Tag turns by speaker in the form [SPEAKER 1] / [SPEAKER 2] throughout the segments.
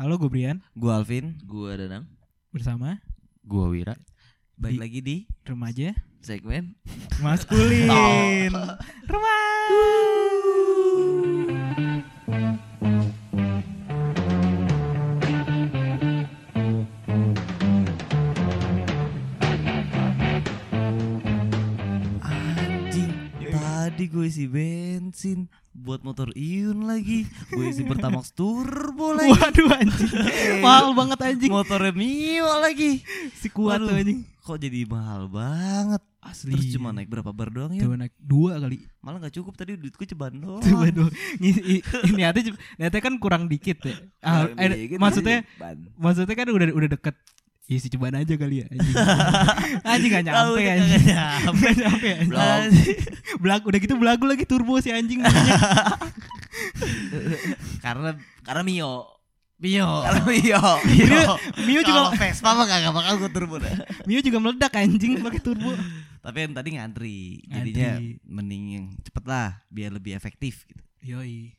[SPEAKER 1] Halo gue Brian
[SPEAKER 2] Gue Alvin,
[SPEAKER 3] Gua Danang,
[SPEAKER 1] bersama
[SPEAKER 3] gua Wira.
[SPEAKER 2] balik
[SPEAKER 1] Di-
[SPEAKER 2] lagi di
[SPEAKER 1] remaja
[SPEAKER 3] Segmen
[SPEAKER 1] maskulin. Rumah.
[SPEAKER 2] Anjing, tadi gue isi bensin buat motor Iyun lagi Gue isi Pertamax Turbo lagi
[SPEAKER 1] Waduh anjing. Mahal banget anjing.
[SPEAKER 2] Motornya Mio lagi
[SPEAKER 1] Si kuat tuh
[SPEAKER 2] Waduh,
[SPEAKER 1] anjing.
[SPEAKER 2] Kok jadi mahal banget
[SPEAKER 1] Asli.
[SPEAKER 2] Terus cuma naik berapa bar doang ya
[SPEAKER 1] Coba naik dua kali.
[SPEAKER 2] Malah gak cukup tadi duit gue ceban doang
[SPEAKER 1] Coba dua. Ini niatnya cuma- niatnya kan kurang dikit ya. Ah,
[SPEAKER 3] Kurang
[SPEAKER 1] eh,
[SPEAKER 3] dikit,
[SPEAKER 1] maksudnya
[SPEAKER 3] ban.
[SPEAKER 1] maksudnya kan udah udah deket. Isi cobaan aja kali ya anjing. anjing gak
[SPEAKER 2] Ah,
[SPEAKER 1] nyampe
[SPEAKER 2] udah
[SPEAKER 1] anjing.
[SPEAKER 2] kagak nyampe.
[SPEAKER 1] Gak nyampe anjing.
[SPEAKER 3] Belum.
[SPEAKER 1] Belagu udah gitu belagu lagi turbo si anjing. bunyinya.
[SPEAKER 2] Karena karena Mio
[SPEAKER 3] Mio. Mio. Oh. Mio.
[SPEAKER 1] Mio- Mio juga
[SPEAKER 3] Kalau Vespa mah kagak bakal gua turbo dah.
[SPEAKER 1] Mio juga meledak anjing pakai turbo.
[SPEAKER 2] Tapi yang tadi ngantri Jadinya
[SPEAKER 1] Ngantri.
[SPEAKER 2] mending yang cepet lah Biar lebih efektif gitu
[SPEAKER 1] Yoi.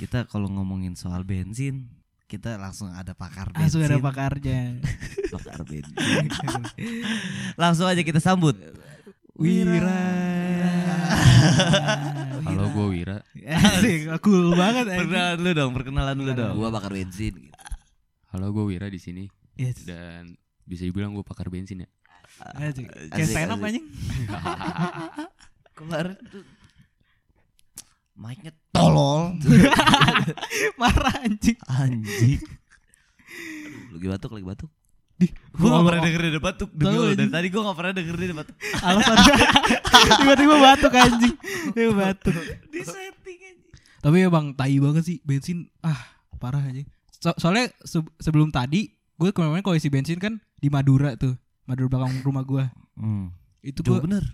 [SPEAKER 2] Kita kalau ngomongin soal bensin Kita langsung ada pakar bensin
[SPEAKER 1] Langsung ada pakarnya.
[SPEAKER 2] Pakar bensin Langsung aja kita sambut
[SPEAKER 1] Wira.
[SPEAKER 3] Halo gua Wira.
[SPEAKER 1] Asik, cool banget anjing.
[SPEAKER 2] Perkenalan dulu dong Perkenalan dulu dong
[SPEAKER 3] Gua bakar bensin.
[SPEAKER 2] gitu.
[SPEAKER 3] Halo gua Wira di sini
[SPEAKER 1] Yes.
[SPEAKER 3] dan bisa dibilang gua pakar bensin ya.
[SPEAKER 1] Asik. Kayak
[SPEAKER 3] Asik,
[SPEAKER 1] stand up
[SPEAKER 3] asik.
[SPEAKER 1] anjing.
[SPEAKER 2] Kemarin tuh Mic-nya tolol
[SPEAKER 1] Marah anjing.
[SPEAKER 2] Anjing Lagi batuk lagi batuk
[SPEAKER 1] Di,
[SPEAKER 2] Gue gak
[SPEAKER 1] ngomong-
[SPEAKER 2] pernah denger dia batuk Demi
[SPEAKER 1] Tolol,
[SPEAKER 2] Allah, dari
[SPEAKER 1] anjing.
[SPEAKER 2] tadi gue gak pernah denger dia batuk
[SPEAKER 1] alasan tiba-tiba batuk anjing. Tiba batuk.
[SPEAKER 2] Di setting anjing
[SPEAKER 1] Tapi emang tai banget sih bensin. Ah, parah anjing. So- soalnya se- sebelum tadi gue kemarin kalau isi bensin kan di Madura tuh. Madura belakang rumah gue.
[SPEAKER 2] hmm.
[SPEAKER 1] Itu
[SPEAKER 2] Jauh
[SPEAKER 1] gue,
[SPEAKER 2] bener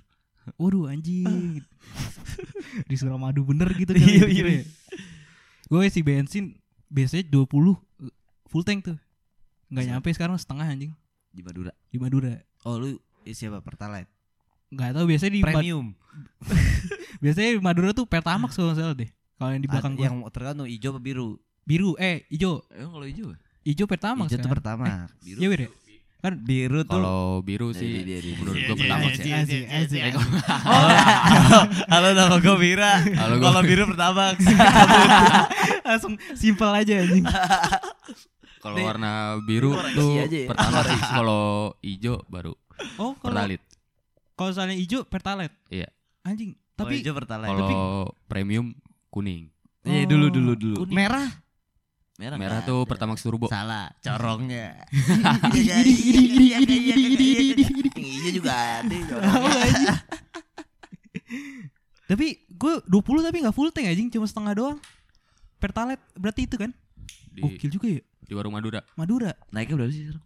[SPEAKER 1] waduh anjing. di Suramadu bener gitu kan.
[SPEAKER 2] Iya, iya, iya.
[SPEAKER 1] gue isi bensin biasanya 20 full tank tuh nggak nyampe sekarang setengah anjing
[SPEAKER 2] Di Madura
[SPEAKER 1] di Madura
[SPEAKER 2] Oh lu siapa Pertalite
[SPEAKER 1] nggak tahu biasanya di Mad-
[SPEAKER 2] Premium
[SPEAKER 1] biasanya di Madura tuh Pertamax kalau nggak salah deh kalau yang di belakang
[SPEAKER 2] Ada
[SPEAKER 1] gua.
[SPEAKER 2] Ah, Yang tergantung hijau apa biru
[SPEAKER 1] biru eh hijau
[SPEAKER 3] Emang kalau hijau? ya?
[SPEAKER 1] hijau Pertamax
[SPEAKER 2] Hijau tuh
[SPEAKER 1] kan
[SPEAKER 2] pertama Iya,
[SPEAKER 1] biru ya Iya, Wir, ya? kan
[SPEAKER 2] Biru tuh iya,
[SPEAKER 3] Kalau biru sih menurut gua pertama
[SPEAKER 2] ya.
[SPEAKER 3] sih.
[SPEAKER 1] Asik, asik.
[SPEAKER 2] Halo nama gue Bira
[SPEAKER 3] Halo, gua-
[SPEAKER 2] Kalau biru pertama
[SPEAKER 1] langsung simpel aja anjing
[SPEAKER 3] Kalau warna biru tuh
[SPEAKER 2] aja ya.
[SPEAKER 3] pertama sih. Kalau hijau baru
[SPEAKER 1] oh kalau
[SPEAKER 3] pertalit.
[SPEAKER 1] kalau misalnya hijau Pertalite
[SPEAKER 3] Iya.
[SPEAKER 1] anjing
[SPEAKER 2] Tapi
[SPEAKER 1] tapi
[SPEAKER 2] Oh, hijau pertama
[SPEAKER 3] Kalau premium kuning.
[SPEAKER 2] Iya dulu dulu dulu Merah
[SPEAKER 1] Nah,
[SPEAKER 2] Merah,
[SPEAKER 3] Merah tuh pertamax turbo.
[SPEAKER 2] Salah Corongnya
[SPEAKER 1] Iya,
[SPEAKER 2] Iya,
[SPEAKER 3] Hijau juga ada.
[SPEAKER 1] tapi gue 20 tapi nggak full tank anjing cuma setengah doang Pertalite berarti itu kan
[SPEAKER 4] Iya.
[SPEAKER 3] Di,
[SPEAKER 1] gokil juga ya
[SPEAKER 3] di warung Madura.
[SPEAKER 1] Madura
[SPEAKER 2] Naiknya berapa sih sekarang?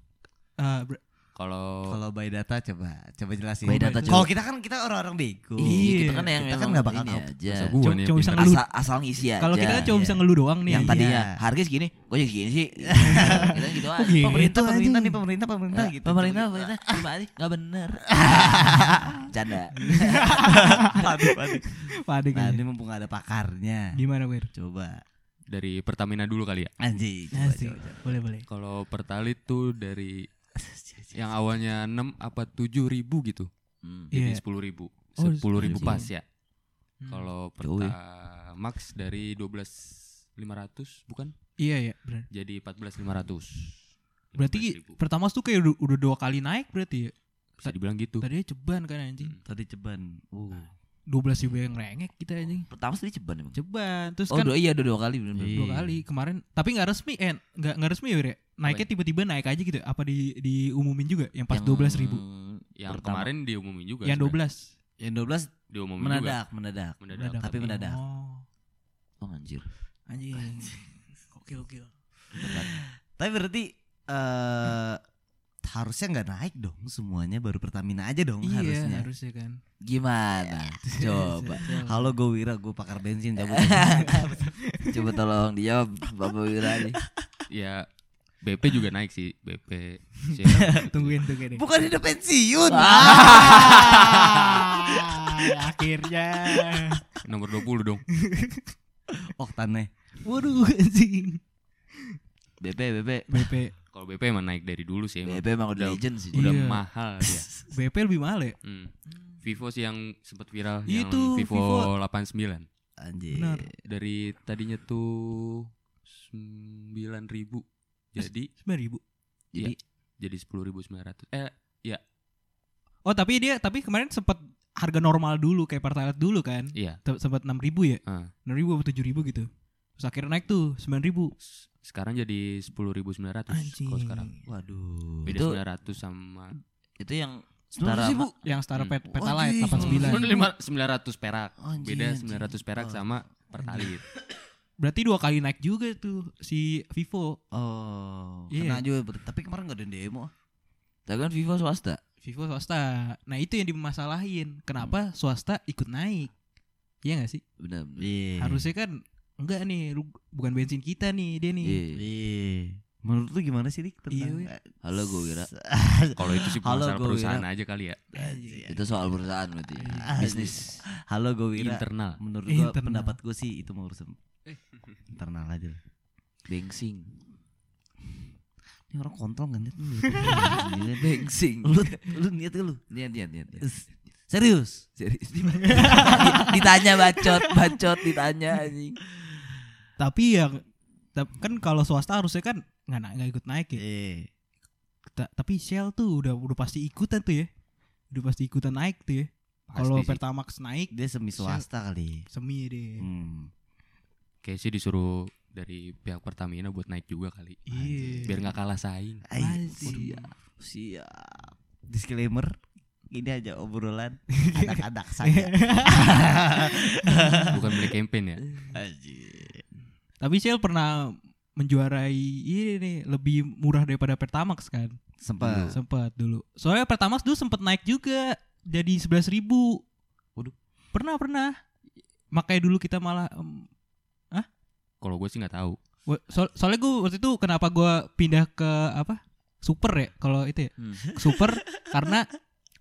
[SPEAKER 1] Ah, ber-
[SPEAKER 3] Kalau
[SPEAKER 2] Kalau by data coba Coba jelasin
[SPEAKER 3] By data,
[SPEAKER 2] Kalau
[SPEAKER 3] coba.
[SPEAKER 2] kita kan kita orang-orang bego
[SPEAKER 1] Iya.
[SPEAKER 2] Kita kan yang kan
[SPEAKER 3] Kita kan
[SPEAKER 2] gak
[SPEAKER 3] nggak
[SPEAKER 2] bakal
[SPEAKER 3] bakal
[SPEAKER 2] ngap-
[SPEAKER 3] aja.
[SPEAKER 1] Ya, Cuma- cuma bisa ngeluh.
[SPEAKER 3] asal, asal ngisi aja.
[SPEAKER 1] kalau kita kan cuma
[SPEAKER 2] iya.
[SPEAKER 1] bisa ngeluh doang nih
[SPEAKER 3] Ya, yang ya.
[SPEAKER 1] anjing.
[SPEAKER 3] tadinya
[SPEAKER 2] Iya.
[SPEAKER 3] harga segini, gue jadi segini sih. kita gitu
[SPEAKER 1] Iya.
[SPEAKER 3] aja.
[SPEAKER 2] Pemerintah,
[SPEAKER 1] Gitu
[SPEAKER 2] pemerintah
[SPEAKER 1] anjing.
[SPEAKER 2] nih pemerintah, pemerintah gitu.
[SPEAKER 3] Eh, Pemerintah, pemerintah, gimana sih? Gak bener. Canda.
[SPEAKER 2] Aduh, aduh.
[SPEAKER 1] Pade
[SPEAKER 2] Nah,
[SPEAKER 1] kayaknya.
[SPEAKER 2] ini mumpung ada pakarnya.
[SPEAKER 1] Gimana Wir?
[SPEAKER 2] Coba.
[SPEAKER 4] dari Pertamina dulu kali ya.
[SPEAKER 2] Anjing. coba,
[SPEAKER 1] Asik.
[SPEAKER 2] coba, coba.
[SPEAKER 1] Boleh boleh.
[SPEAKER 4] Kalau Pertalit tuh dari yang awalnya 6 apa 7 ribu gitu.
[SPEAKER 3] Hmm.
[SPEAKER 1] Iya.
[SPEAKER 4] Jadi 10 ribu.
[SPEAKER 1] Oh,
[SPEAKER 4] 10 ribu
[SPEAKER 1] 10.000.
[SPEAKER 4] pas ya. Kalau
[SPEAKER 3] Jauh ya.
[SPEAKER 4] Pertamax dari 12.500 bukan?
[SPEAKER 1] Iya ya benar.
[SPEAKER 4] Jadi 14.500.
[SPEAKER 1] Berarti
[SPEAKER 4] 15.000.
[SPEAKER 1] pertama tuh kayak udah, udah dua kali naik berarti ya.
[SPEAKER 4] bisa dibilang gitu.
[SPEAKER 1] Tadinya ceban kan
[SPEAKER 3] Hmm.
[SPEAKER 1] anjing.
[SPEAKER 2] Tadi ceban. Uh.
[SPEAKER 1] 12 ribu yang rengek kita anjing.
[SPEAKER 3] Pertama sih ceban emang.
[SPEAKER 1] Ceban. Terus
[SPEAKER 3] Oh
[SPEAKER 1] kan
[SPEAKER 3] dua, iya dua, dua kali bener bener.
[SPEAKER 1] dua
[SPEAKER 2] Iya.
[SPEAKER 1] kali kemarin tapi nggak resmi eh nggak nggak resmi ya Wir, ya? Naiknya tiba-tiba naik aja gitu. Apa di diumumin juga yang pas
[SPEAKER 3] Yang-
[SPEAKER 1] dua belas ribu?
[SPEAKER 4] Yang
[SPEAKER 3] pertama.
[SPEAKER 4] kemarin diumumin juga.
[SPEAKER 1] Yang 12
[SPEAKER 2] Yang 12
[SPEAKER 4] sebenarnya. diumumin juga.
[SPEAKER 2] menadak, menadak.
[SPEAKER 4] Mendadak.
[SPEAKER 1] Mendadak.
[SPEAKER 2] Tapi mendadak.
[SPEAKER 1] Oh,
[SPEAKER 3] Oh anjir.
[SPEAKER 1] anjing. Oke oke.
[SPEAKER 2] Tapi berarti eh harusnya nggak naik dong semuanya baru Pertamina aja dong
[SPEAKER 1] Iya
[SPEAKER 2] Hmm, harusnya. Iya.
[SPEAKER 1] harusnya kan.
[SPEAKER 3] Gimana? Coba.
[SPEAKER 2] Halo gue Wira, gue pakar bensin cabut.
[SPEAKER 3] Coba tolong dijawab Bapak Wira nih.
[SPEAKER 4] Ya BP juga naik sih, BP. Siapa?
[SPEAKER 1] Tungguin tungguin. deh.
[SPEAKER 2] Bukan hidup pensiun.
[SPEAKER 1] Ah, akhirnya.
[SPEAKER 4] Nomor 20 dong.
[SPEAKER 2] Oktannya.
[SPEAKER 1] Waduh anjing.
[SPEAKER 2] BP BP
[SPEAKER 1] BP
[SPEAKER 4] Kalau BP emang naik dari dulu sih emang.
[SPEAKER 2] BP emang udah legend sih
[SPEAKER 4] Udah
[SPEAKER 1] Iya.
[SPEAKER 4] mahal dia.
[SPEAKER 1] BP lebih mahal ya
[SPEAKER 4] Hmm. Vivo sih yang sempat viral
[SPEAKER 1] Iya
[SPEAKER 4] yang
[SPEAKER 1] tuh,
[SPEAKER 4] Vivo,
[SPEAKER 1] Vivo.
[SPEAKER 4] 89.
[SPEAKER 2] anjir
[SPEAKER 1] Benar.
[SPEAKER 4] Dari tadinya tuh 9000 jadi
[SPEAKER 1] sembilan ribu
[SPEAKER 4] jadi jadi 10.900. Eh
[SPEAKER 1] oh tapi dia tapi kemarin sempat harga normal dulu kayak pertalite dulu kan
[SPEAKER 4] iya,
[SPEAKER 1] Tem- sempat enam ribu ya
[SPEAKER 4] Ah.
[SPEAKER 1] enam ribu atau tujuh ribu gitu terus akhirnya naik tuh sembilan ribu
[SPEAKER 4] S- sekarang jadi 10.900 kalau sekarang.
[SPEAKER 2] waduh
[SPEAKER 4] Beda
[SPEAKER 2] itu
[SPEAKER 4] 900 sama
[SPEAKER 2] itu yang
[SPEAKER 1] Terus
[SPEAKER 2] setara
[SPEAKER 1] sih, Bu, yang setara pet
[SPEAKER 4] Hmm.
[SPEAKER 1] pertalite
[SPEAKER 2] Wajih,
[SPEAKER 1] 89
[SPEAKER 4] Lima- 900 perak.
[SPEAKER 2] Anjing,
[SPEAKER 4] Beda
[SPEAKER 2] anjing.
[SPEAKER 4] 900 perak
[SPEAKER 2] Oh.
[SPEAKER 4] sama pertalit.
[SPEAKER 1] berarti dua kali naik juga tuh si Vivo
[SPEAKER 2] oh
[SPEAKER 1] Iya.
[SPEAKER 2] kena juga ber- tapi kemarin nggak ada demo tapi kan Vivo swasta
[SPEAKER 1] Vivo swasta nah itu yang dimasalahin kenapa
[SPEAKER 4] Hmm.
[SPEAKER 1] swasta ikut naik Iya gak sih?
[SPEAKER 2] benar Iya.
[SPEAKER 4] Iya.
[SPEAKER 1] Harusnya kan enggak nih, lu- bukan bensin kita nih dia
[SPEAKER 2] Iya.
[SPEAKER 4] Iya.
[SPEAKER 1] nih.
[SPEAKER 2] menurut lu gimana sih Dik tentang
[SPEAKER 1] Iya,
[SPEAKER 2] halo gue kira
[SPEAKER 4] Kalau itu sih bukan
[SPEAKER 2] Halo,
[SPEAKER 4] salah
[SPEAKER 2] gua
[SPEAKER 4] perusahaan aja kali ya.
[SPEAKER 3] Iya,
[SPEAKER 2] itu soal perusahaan berarti bisnis halo gue kira
[SPEAKER 4] Internal.
[SPEAKER 2] menurut gua
[SPEAKER 1] Internal.
[SPEAKER 2] pendapat gue sih itu mau urusan internal aja lah bengsing ini orang kan, kontrol nggak niat nih bengsing lu lu niat gak lu
[SPEAKER 3] Niat niat niat. niat.
[SPEAKER 2] S- serius
[SPEAKER 3] Serius. ditanya bacot, bacot ditanya anjing.
[SPEAKER 1] Tapi yang tap- kan kalau swasta harusnya kan nggak na- nggak ikut naik ya.
[SPEAKER 2] eh
[SPEAKER 1] Ta- tapi Shell tuh udah udah pasti ikutan tuh ya. Udah pasti ikutan naik tuh ya. Kalau
[SPEAKER 4] sih.
[SPEAKER 1] Pertamax naik
[SPEAKER 2] dia semi swasta kali
[SPEAKER 1] semi deh.
[SPEAKER 2] hmm.
[SPEAKER 4] Kayaknya sih disuruh dari pihak Pertamina buat naik juga kali.
[SPEAKER 1] Iya.
[SPEAKER 4] Biar nggak kalah saing.
[SPEAKER 2] Ay,
[SPEAKER 1] Masih.
[SPEAKER 2] waduh, siap disclaimer ini aja obrolan anak-anak saya
[SPEAKER 4] Bukan beli campaign ya.
[SPEAKER 2] Anjir.
[SPEAKER 1] Tapi Shell pernah menjuarai ini nih lebih murah daripada Pertamax kan.
[SPEAKER 2] sempat
[SPEAKER 1] Sempet dulu. Soalnya Pertamax dulu sempet naik juga jadi 11.000 ribu.
[SPEAKER 4] Waduh.
[SPEAKER 1] Pernah pernah. Makanya dulu kita malah em,
[SPEAKER 4] Kalau gue sih nggak tahu.
[SPEAKER 1] wa- so- soalnya gue waktu itu kenapa gue pindah ke apa super ya kalau itu ya
[SPEAKER 3] Hmm.
[SPEAKER 1] super karena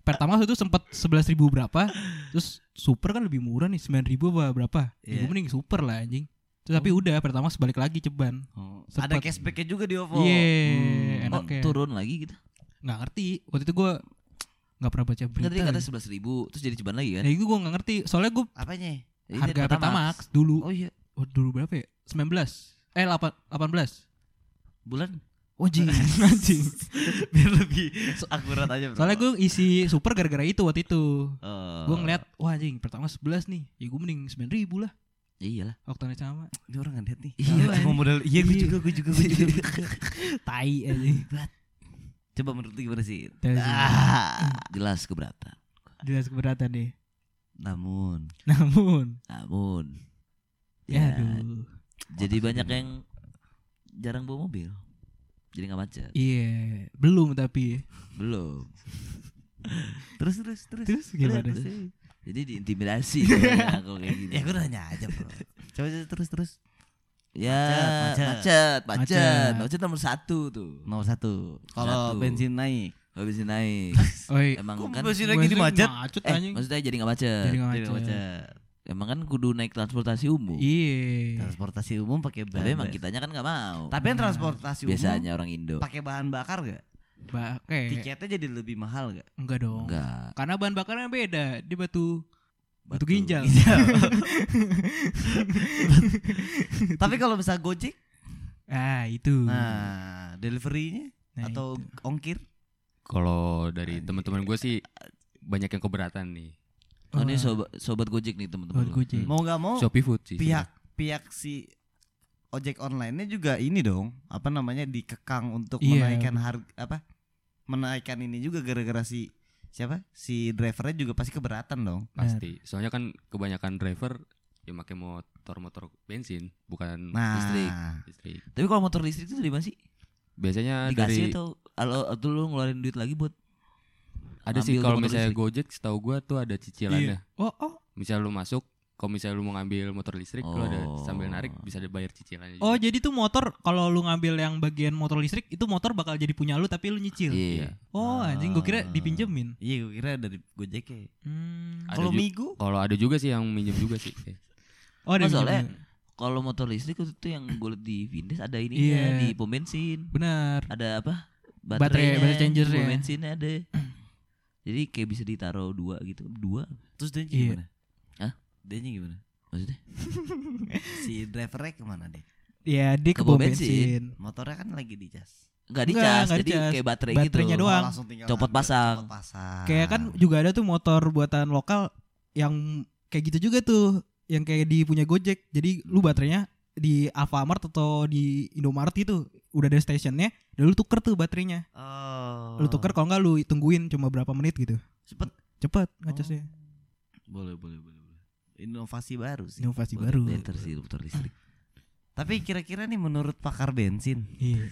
[SPEAKER 1] pertama itu sempat 11.000 ribu berapa terus super kan lebih murah nih 9.000 ribu apa berapa
[SPEAKER 2] Iya.
[SPEAKER 1] gue mending super lah anjing terus tapi udah pertama balik lagi ceban
[SPEAKER 2] Oh,
[SPEAKER 1] Sempet.
[SPEAKER 2] ada cashbacknya juga di OVO.
[SPEAKER 1] Iya,
[SPEAKER 2] Hmm.
[SPEAKER 1] enak
[SPEAKER 2] Oh,
[SPEAKER 1] ya.
[SPEAKER 2] turun lagi gitu.
[SPEAKER 1] nggak ngerti waktu itu gue nggak pernah baca
[SPEAKER 3] Enggak
[SPEAKER 1] berita
[SPEAKER 3] Kan tadi kata sebelas ribu terus jadi cobaan lagi kan?
[SPEAKER 1] ya itu gue nggak ngerti soalnya gue
[SPEAKER 2] Apanya? Ini
[SPEAKER 1] harga
[SPEAKER 2] Pertamax.
[SPEAKER 1] pertamax dulu
[SPEAKER 2] Oh iya,
[SPEAKER 1] oh, dulu berapa ya 19 eh 8 18
[SPEAKER 2] bulan.
[SPEAKER 1] Wajib anjing.
[SPEAKER 2] Biar lebih akurat aja. Bro.
[SPEAKER 1] Soalnya gue isi super gara-gara itu waktu itu.
[SPEAKER 2] Oh.
[SPEAKER 1] Gue ngeliat, wah anjing pertama 11 nih. Ya gue mending 9 ribu lah.
[SPEAKER 3] Ya iyalah.
[SPEAKER 1] Oktannya sama.
[SPEAKER 2] Ini orang ngeliat nih.
[SPEAKER 1] Iya,
[SPEAKER 2] Iya, cuma
[SPEAKER 1] anjing.
[SPEAKER 2] modal. Iya, gue
[SPEAKER 1] Iya.
[SPEAKER 2] juga, gue juga, gue juga. gua juga.
[SPEAKER 1] Tai aja.
[SPEAKER 2] Coba menurut lu gimana sih?
[SPEAKER 1] Terus,
[SPEAKER 2] Ah,
[SPEAKER 3] Jelas keberatan.
[SPEAKER 1] Jelas keberatan deh.
[SPEAKER 2] namun,
[SPEAKER 1] Namun,
[SPEAKER 2] namun.
[SPEAKER 1] ya aduh.
[SPEAKER 2] Jadi banyak yang jarang bawa mobil. Jadi nggak macet.
[SPEAKER 1] Iya, belum tapi.
[SPEAKER 2] Belum. terus terus terus.
[SPEAKER 1] Terus gimana?
[SPEAKER 2] Terus, terus. Jadi diintimidasi soalnya aku kayak gini.
[SPEAKER 3] Ya, gua nanya
[SPEAKER 2] aja, Bro. Coba aja terus terus.
[SPEAKER 3] Ya
[SPEAKER 2] Macet,
[SPEAKER 3] macet, macet,
[SPEAKER 1] Macet.
[SPEAKER 3] macet, nomor satu tuh.
[SPEAKER 2] Nomor satu. Kalau
[SPEAKER 3] Satu.
[SPEAKER 2] bensin naik.
[SPEAKER 3] Habis ini naik.
[SPEAKER 1] Oi.
[SPEAKER 3] Emang
[SPEAKER 2] Kok
[SPEAKER 3] kan
[SPEAKER 2] bensin lagi di macet?
[SPEAKER 1] Macet
[SPEAKER 3] eh
[SPEAKER 1] anjing.
[SPEAKER 3] maksudnya jadi nggak macet.
[SPEAKER 1] Jadi nggak
[SPEAKER 2] Jadi
[SPEAKER 1] macet.
[SPEAKER 2] macet.
[SPEAKER 3] Emang kan kudu naik transportasi umum.
[SPEAKER 1] Iya.
[SPEAKER 2] Transportasi umum pakai bahan.
[SPEAKER 3] Tapi emang
[SPEAKER 2] bakar.
[SPEAKER 3] kitanya kan nggak mau.
[SPEAKER 2] Tapi yang transportasi
[SPEAKER 3] Biasanya orang Indo.
[SPEAKER 2] umum pakai bahan bakar gak?
[SPEAKER 1] Ba- Oke.
[SPEAKER 2] Tiketnya jadi lebih mahal gak?
[SPEAKER 1] Enggak dong.
[SPEAKER 3] Enggak.
[SPEAKER 1] Karena bahan bakarnya beda. Dia batu batu
[SPEAKER 3] Batu
[SPEAKER 1] ginjal.
[SPEAKER 2] Tapi kalau misalnya Gojek,
[SPEAKER 1] Ah, itu.
[SPEAKER 2] nah deliverynya
[SPEAKER 1] Nah,
[SPEAKER 2] atau ongkir?
[SPEAKER 4] Kalau dari teman-teman gue sih banyak yang keberatan nih.
[SPEAKER 3] Oh, ini
[SPEAKER 1] Wah.
[SPEAKER 3] sobat sobat Gojek nih teman-teman.
[SPEAKER 1] Buat Gojek.
[SPEAKER 2] Mau nggak mau
[SPEAKER 4] Shopee Food sih.
[SPEAKER 2] pihak pihak si ojek online-nya juga ini dong, apa namanya dikekang untuk
[SPEAKER 1] Iya,
[SPEAKER 2] menaikkan harga apa? Menaikkan ini juga gara-gara si siapa? Si drivernya juga pasti keberatan dong.
[SPEAKER 4] sebenarnya. Pasti. Soalnya kan kebanyakan driver yang pakai motor-motor bensin bukan
[SPEAKER 2] Nah,
[SPEAKER 3] Listrik.
[SPEAKER 4] listrik.
[SPEAKER 3] Tapi kalau motor listrik itu dari mana sih?
[SPEAKER 1] Nah,
[SPEAKER 4] Biasanya dari
[SPEAKER 3] Dikasih atau kalau atau lu ngeluarin duit lagi buat
[SPEAKER 4] ada sih
[SPEAKER 3] ambil
[SPEAKER 4] kalau
[SPEAKER 3] motor
[SPEAKER 4] misalnya
[SPEAKER 3] listrik?
[SPEAKER 4] Gojek setahu gue tuh ada cicilannya.
[SPEAKER 1] Oh, oh.
[SPEAKER 4] Misal lu masuk kalau misalnya lu mau ngambil motor listrik, lu ada
[SPEAKER 3] Oh.
[SPEAKER 4] sambil narik bisa dibayar cicilannya.
[SPEAKER 1] Oh,
[SPEAKER 4] juga.
[SPEAKER 1] jadi tuh motor kalau lu ngambil yang bagian motor listrik itu motor bakal jadi punya lu tapi lu nyicil.
[SPEAKER 3] Iya.
[SPEAKER 1] Oh, anjing gue kira
[SPEAKER 2] Ah.
[SPEAKER 1] dipinjemin.
[SPEAKER 2] Iya, gue kira dari Gojek ya.
[SPEAKER 1] Hmm.
[SPEAKER 4] Ada
[SPEAKER 2] Kalau
[SPEAKER 4] ju-
[SPEAKER 2] Migo
[SPEAKER 4] Kalau ada juga sih Eh, yang minjem juga sih.
[SPEAKER 1] Oh, ada
[SPEAKER 3] Masalahnya-
[SPEAKER 1] pinjemin.
[SPEAKER 3] kalau motor listrik itu tuh yang gue liat di Vindes ada ini
[SPEAKER 1] Iya.
[SPEAKER 3] di pom bensin
[SPEAKER 1] Benar.
[SPEAKER 3] ada apa
[SPEAKER 1] Baterai-
[SPEAKER 3] baterainya
[SPEAKER 1] baterai changer
[SPEAKER 3] pom
[SPEAKER 1] ya.
[SPEAKER 3] bensinnya ada jadi kayak bisa ditaruh dua gitu dua
[SPEAKER 2] Terus dia
[SPEAKER 1] Iya.
[SPEAKER 2] gimana?
[SPEAKER 3] Hah?
[SPEAKER 2] Dia gimana?
[SPEAKER 3] maksudnya
[SPEAKER 2] Si drivernya kemana deh?
[SPEAKER 1] Ya, dia ke
[SPEAKER 3] Ke pom
[SPEAKER 1] pom bensin.
[SPEAKER 2] Motornya kan lagi dicas.
[SPEAKER 3] nggak
[SPEAKER 1] Nggak,
[SPEAKER 3] dicas
[SPEAKER 1] nggak
[SPEAKER 3] jadi
[SPEAKER 1] dicas.
[SPEAKER 3] kayak baterai
[SPEAKER 1] Baterainya
[SPEAKER 3] gitu
[SPEAKER 1] doang.
[SPEAKER 2] langsung tinggal
[SPEAKER 3] Copot
[SPEAKER 2] ambil,
[SPEAKER 3] pasang.
[SPEAKER 2] Copot pasang.
[SPEAKER 1] Kayak kan juga ada tuh motor buatan lokal yang kayak gitu juga tuh, yang kayak di punya Gojek. Jadi lu baterainya di Alfamart atau di Indomaret gitu udah ada stationnya, dan lu tuker tuh baterainya.
[SPEAKER 2] Oh.
[SPEAKER 1] Lu tuker kalau nggak lu tungguin cuma berapa menit gitu.
[SPEAKER 2] cepet.
[SPEAKER 1] Cepet ngecasnya.
[SPEAKER 2] Boleh, boleh, boleh, boleh. Inovasi baru sih.
[SPEAKER 1] Inovasi
[SPEAKER 3] Boleh,
[SPEAKER 1] baru.
[SPEAKER 3] better sih motor listrik
[SPEAKER 2] Tapi kira-kira nih menurut pakar bensin.
[SPEAKER 1] Iya.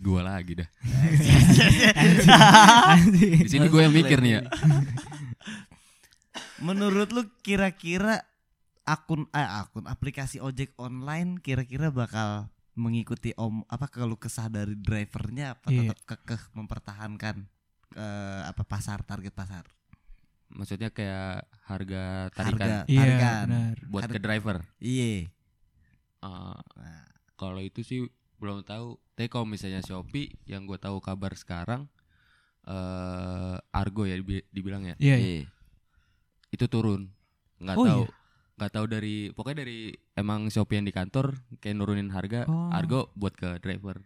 [SPEAKER 4] Gua lagi dah.
[SPEAKER 1] Anjing.
[SPEAKER 4] Di sini gue yang mikir nih ya.
[SPEAKER 1] Iya,
[SPEAKER 2] Menurut lu kira-kira akun eh, akun aplikasi ojek online kira-kira bakal mengikuti om apa kalau kesah dari drivernya apa
[SPEAKER 1] Iya.
[SPEAKER 2] tetap kekeh mempertahankan eh, apa pasar target pasar
[SPEAKER 4] Maksudnya kayak harga tarikan
[SPEAKER 2] harga
[SPEAKER 1] Iya,
[SPEAKER 2] tarikan
[SPEAKER 1] benar.
[SPEAKER 4] buat ke
[SPEAKER 2] Harga-
[SPEAKER 4] driver.
[SPEAKER 2] iya
[SPEAKER 4] Eh,
[SPEAKER 2] Nah,
[SPEAKER 4] kalau itu sih belum tahu. Tapi kalau misalnya Shopee yang gue tahu kabar sekarang eh Argo ya dibi- dibilang ya.
[SPEAKER 1] Iya, iya.
[SPEAKER 3] Iya.
[SPEAKER 4] Itu turun. nggak
[SPEAKER 1] Oh,
[SPEAKER 4] tahu. nggak tahu dari pokoknya dari emang Shopee yang di kantor kayak nurunin harga
[SPEAKER 1] Oh.
[SPEAKER 4] Argo buat ke driver.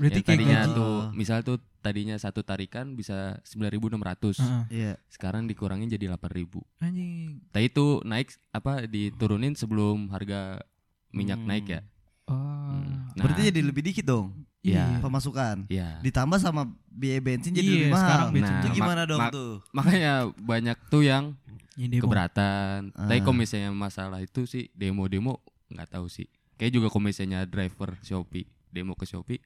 [SPEAKER 1] Berarti
[SPEAKER 4] yang
[SPEAKER 1] kayak gitu.
[SPEAKER 4] tadinya
[SPEAKER 1] gaji.
[SPEAKER 4] tuh
[SPEAKER 2] Oh.
[SPEAKER 4] misal tuh tadinya satu tarikan bisa 9600.
[SPEAKER 1] Heeh.
[SPEAKER 2] iya
[SPEAKER 4] Sekarang dikurangin jadi 8000.
[SPEAKER 1] Anjing.
[SPEAKER 4] Tapi itu naik apa diturunin sebelum harga minyak
[SPEAKER 2] Hmm.
[SPEAKER 4] naik ya.
[SPEAKER 1] Oh.
[SPEAKER 4] Hmm. Nah,
[SPEAKER 2] berarti jadi lebih dikit dong
[SPEAKER 1] Iya.
[SPEAKER 4] Iya.
[SPEAKER 2] pemasukan
[SPEAKER 4] ya.
[SPEAKER 2] ditambah sama biaya bensin jadi
[SPEAKER 1] Iya,
[SPEAKER 2] lebih mahal
[SPEAKER 1] sekarang bensin
[SPEAKER 4] Nah,
[SPEAKER 2] itu
[SPEAKER 4] mak-
[SPEAKER 2] gimana dong
[SPEAKER 4] mak-
[SPEAKER 2] tuh
[SPEAKER 4] Makanya banyak tuh yang
[SPEAKER 1] Yang Iya, demo.
[SPEAKER 4] keberatan. Tapi
[SPEAKER 2] Ah.
[SPEAKER 4] kalau misalnya masalah itu sih demo-demo nggak tahu sih. Kayak juga kalau misalnya driver Shopee demo ke Shopee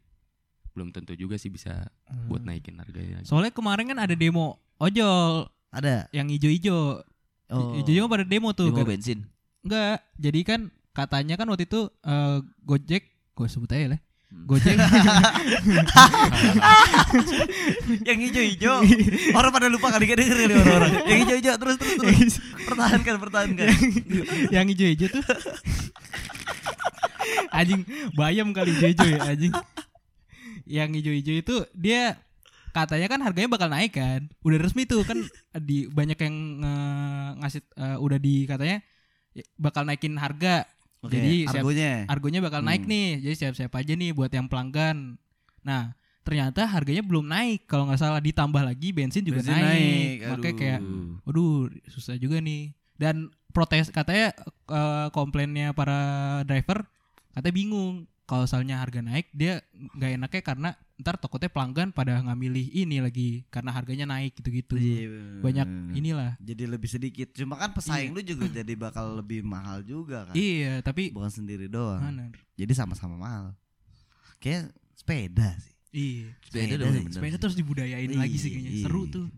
[SPEAKER 4] belum tentu juga sih bisa
[SPEAKER 1] Hmm.
[SPEAKER 4] buat naikin harganya.
[SPEAKER 1] Soalnya kemarin kan ada demo ojol
[SPEAKER 2] ada
[SPEAKER 1] yang ijo-ijo.
[SPEAKER 2] Oh.
[SPEAKER 1] Ijo-ijo kan pada demo tuh.
[SPEAKER 3] Dia mau
[SPEAKER 1] Gar-
[SPEAKER 3] bensin
[SPEAKER 1] Enggak. Jadi kan katanya kan waktu itu eh, Gojek gue sebut aja lah.
[SPEAKER 3] Hmm.
[SPEAKER 1] Gojek
[SPEAKER 2] yang hijau-hijau orang pada lupa kali kan dengerin nih orang-orang yang hijau-hijau terus terus terus pertahankan pertahankan
[SPEAKER 1] yang ijo-ijo tuh anjing bayam kali ijo-ijo ya anjing. Yang ijo-ijo itu dia katanya kan harganya bakal naik kan. Udah resmi tuh kan di banyak yang eh, ngasih eh, udah di katanya ya, bakal naikin harga.
[SPEAKER 2] Oke,
[SPEAKER 1] Jadi siap-
[SPEAKER 2] argonya ya?
[SPEAKER 1] Argonya bakal naik
[SPEAKER 2] Hmm.
[SPEAKER 1] nih, jadi siap-siap aja nih buat yang pelanggan. Nah, ternyata harganya belum naik kalau nggak salah ditambah lagi bensin juga naik.
[SPEAKER 2] Bensin naik,
[SPEAKER 1] Makanya
[SPEAKER 2] aduh.
[SPEAKER 1] kayak, waduh susah juga nih. Dan protes katanya eh, komplainnya para driver katanya bingung kalau misalnya harga naik dia nggak enaknya karena ntar takutnya pelanggan pada nggak milih ini lagi karena harganya naik gitu-gitu.
[SPEAKER 2] Iya,
[SPEAKER 1] Banyak
[SPEAKER 2] bener.
[SPEAKER 1] inilah.
[SPEAKER 2] jadi lebih sedikit cuma kan pesaing lu juga jadi bakal lebih mahal juga kan
[SPEAKER 1] Iya, tapi
[SPEAKER 2] bukan sendiri doang
[SPEAKER 1] mana?
[SPEAKER 2] jadi sama-sama mahal kayak sepeda sih
[SPEAKER 1] Iya.
[SPEAKER 3] Sepeda
[SPEAKER 2] Sepeda
[SPEAKER 3] dong
[SPEAKER 2] sih,
[SPEAKER 3] yang bener.
[SPEAKER 1] Sepeda terus dibudayain lagi sih kayaknya.
[SPEAKER 2] Iya.
[SPEAKER 1] Seru tuh.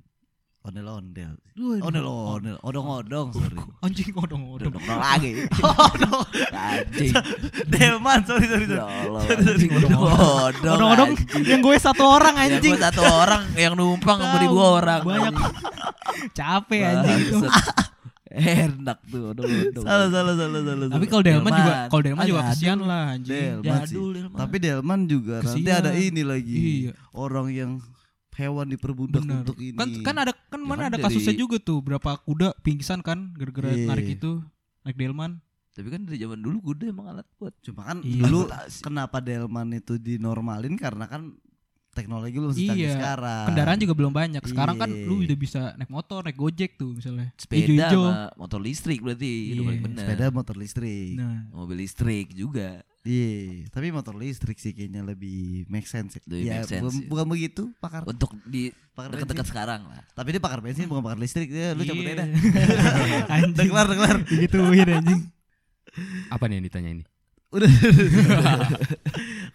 [SPEAKER 2] ondel-ondel
[SPEAKER 1] Waduh.
[SPEAKER 2] ondel-ondel odong-odong
[SPEAKER 1] Oh.
[SPEAKER 2] sorry
[SPEAKER 1] Anjing odong-odong.
[SPEAKER 3] Udah lagi
[SPEAKER 2] odong
[SPEAKER 3] anjing
[SPEAKER 2] Oh, delman sorry sorry
[SPEAKER 3] Ya
[SPEAKER 2] sorry
[SPEAKER 3] Allah,
[SPEAKER 2] Sorry,
[SPEAKER 3] anjing.
[SPEAKER 2] odong-odong.
[SPEAKER 3] Odong-odong,
[SPEAKER 1] Odong-odong
[SPEAKER 3] anjing.
[SPEAKER 1] yang gue satu orang
[SPEAKER 3] Ya,
[SPEAKER 1] anjing.
[SPEAKER 3] gua satu orang yang numpang sama ribu orang.
[SPEAKER 1] Banyak. Capek anjing
[SPEAKER 3] anjing.
[SPEAKER 1] itu.
[SPEAKER 3] Enak tuh, odong-odong.
[SPEAKER 2] salah salah salah salah
[SPEAKER 1] Tapi kalau Delman juga
[SPEAKER 3] Delman.
[SPEAKER 1] kalau Delman juga
[SPEAKER 3] Ada,
[SPEAKER 1] kasihan lah anjing. Iya,
[SPEAKER 2] Delman sih.
[SPEAKER 3] Jadul, Delman.
[SPEAKER 2] Tapi Delman juga nanti
[SPEAKER 1] Kesian.
[SPEAKER 2] ada ini lagi.
[SPEAKER 1] Iya.
[SPEAKER 2] Orang yang hewan diperbudak
[SPEAKER 1] Benar.
[SPEAKER 2] untuk ini.
[SPEAKER 1] Kan kan ada kan
[SPEAKER 3] Ya
[SPEAKER 1] mana
[SPEAKER 3] kan
[SPEAKER 1] ada
[SPEAKER 3] dari-
[SPEAKER 1] kasusnya juga tuh berapa kuda pingsan kan gara-gara
[SPEAKER 2] Iya.
[SPEAKER 1] narik itu naik Delman.
[SPEAKER 3] Tapi kan dari zaman dulu kuda emang alat buat
[SPEAKER 2] Cuma kan
[SPEAKER 1] Iya.
[SPEAKER 2] dulu kenapa Delman itu dinormalin karena kan teknologi belum secanggih
[SPEAKER 1] Iya.
[SPEAKER 2] sekarang.
[SPEAKER 1] Kendaraan juga belum banyak. Sekarang kan
[SPEAKER 2] Ah. Iya.
[SPEAKER 1] lu udah bisa naik motor, naik Gojek tuh misalnya.
[SPEAKER 3] sepeda
[SPEAKER 1] Ijo-ijo.
[SPEAKER 3] sama motor listrik berarti. Udah
[SPEAKER 1] Iya,
[SPEAKER 3] paling bener.
[SPEAKER 2] sepeda motor listrik.
[SPEAKER 1] Nah,
[SPEAKER 3] Mobil listrik juga.
[SPEAKER 2] Iya, tapi motor listrik sih kayaknya lebih make sense. ya.
[SPEAKER 3] Lebih
[SPEAKER 2] ya,
[SPEAKER 3] make sense,
[SPEAKER 2] bukan,
[SPEAKER 3] iya.
[SPEAKER 2] bukan begitu pakar.
[SPEAKER 3] Untuk di
[SPEAKER 2] Pakar
[SPEAKER 3] dekat-dekat
[SPEAKER 2] bensin.
[SPEAKER 3] sekarang lah.
[SPEAKER 2] Tapi dia pakar bensin bukan pakar listrik. Ya, lu cabut
[SPEAKER 1] Iya.
[SPEAKER 2] aja dah.
[SPEAKER 1] anjing.
[SPEAKER 2] Udah kelar, udah kelar.
[SPEAKER 1] Digituin anjing.
[SPEAKER 4] Apa nih yang ditanya ini?
[SPEAKER 2] Udah.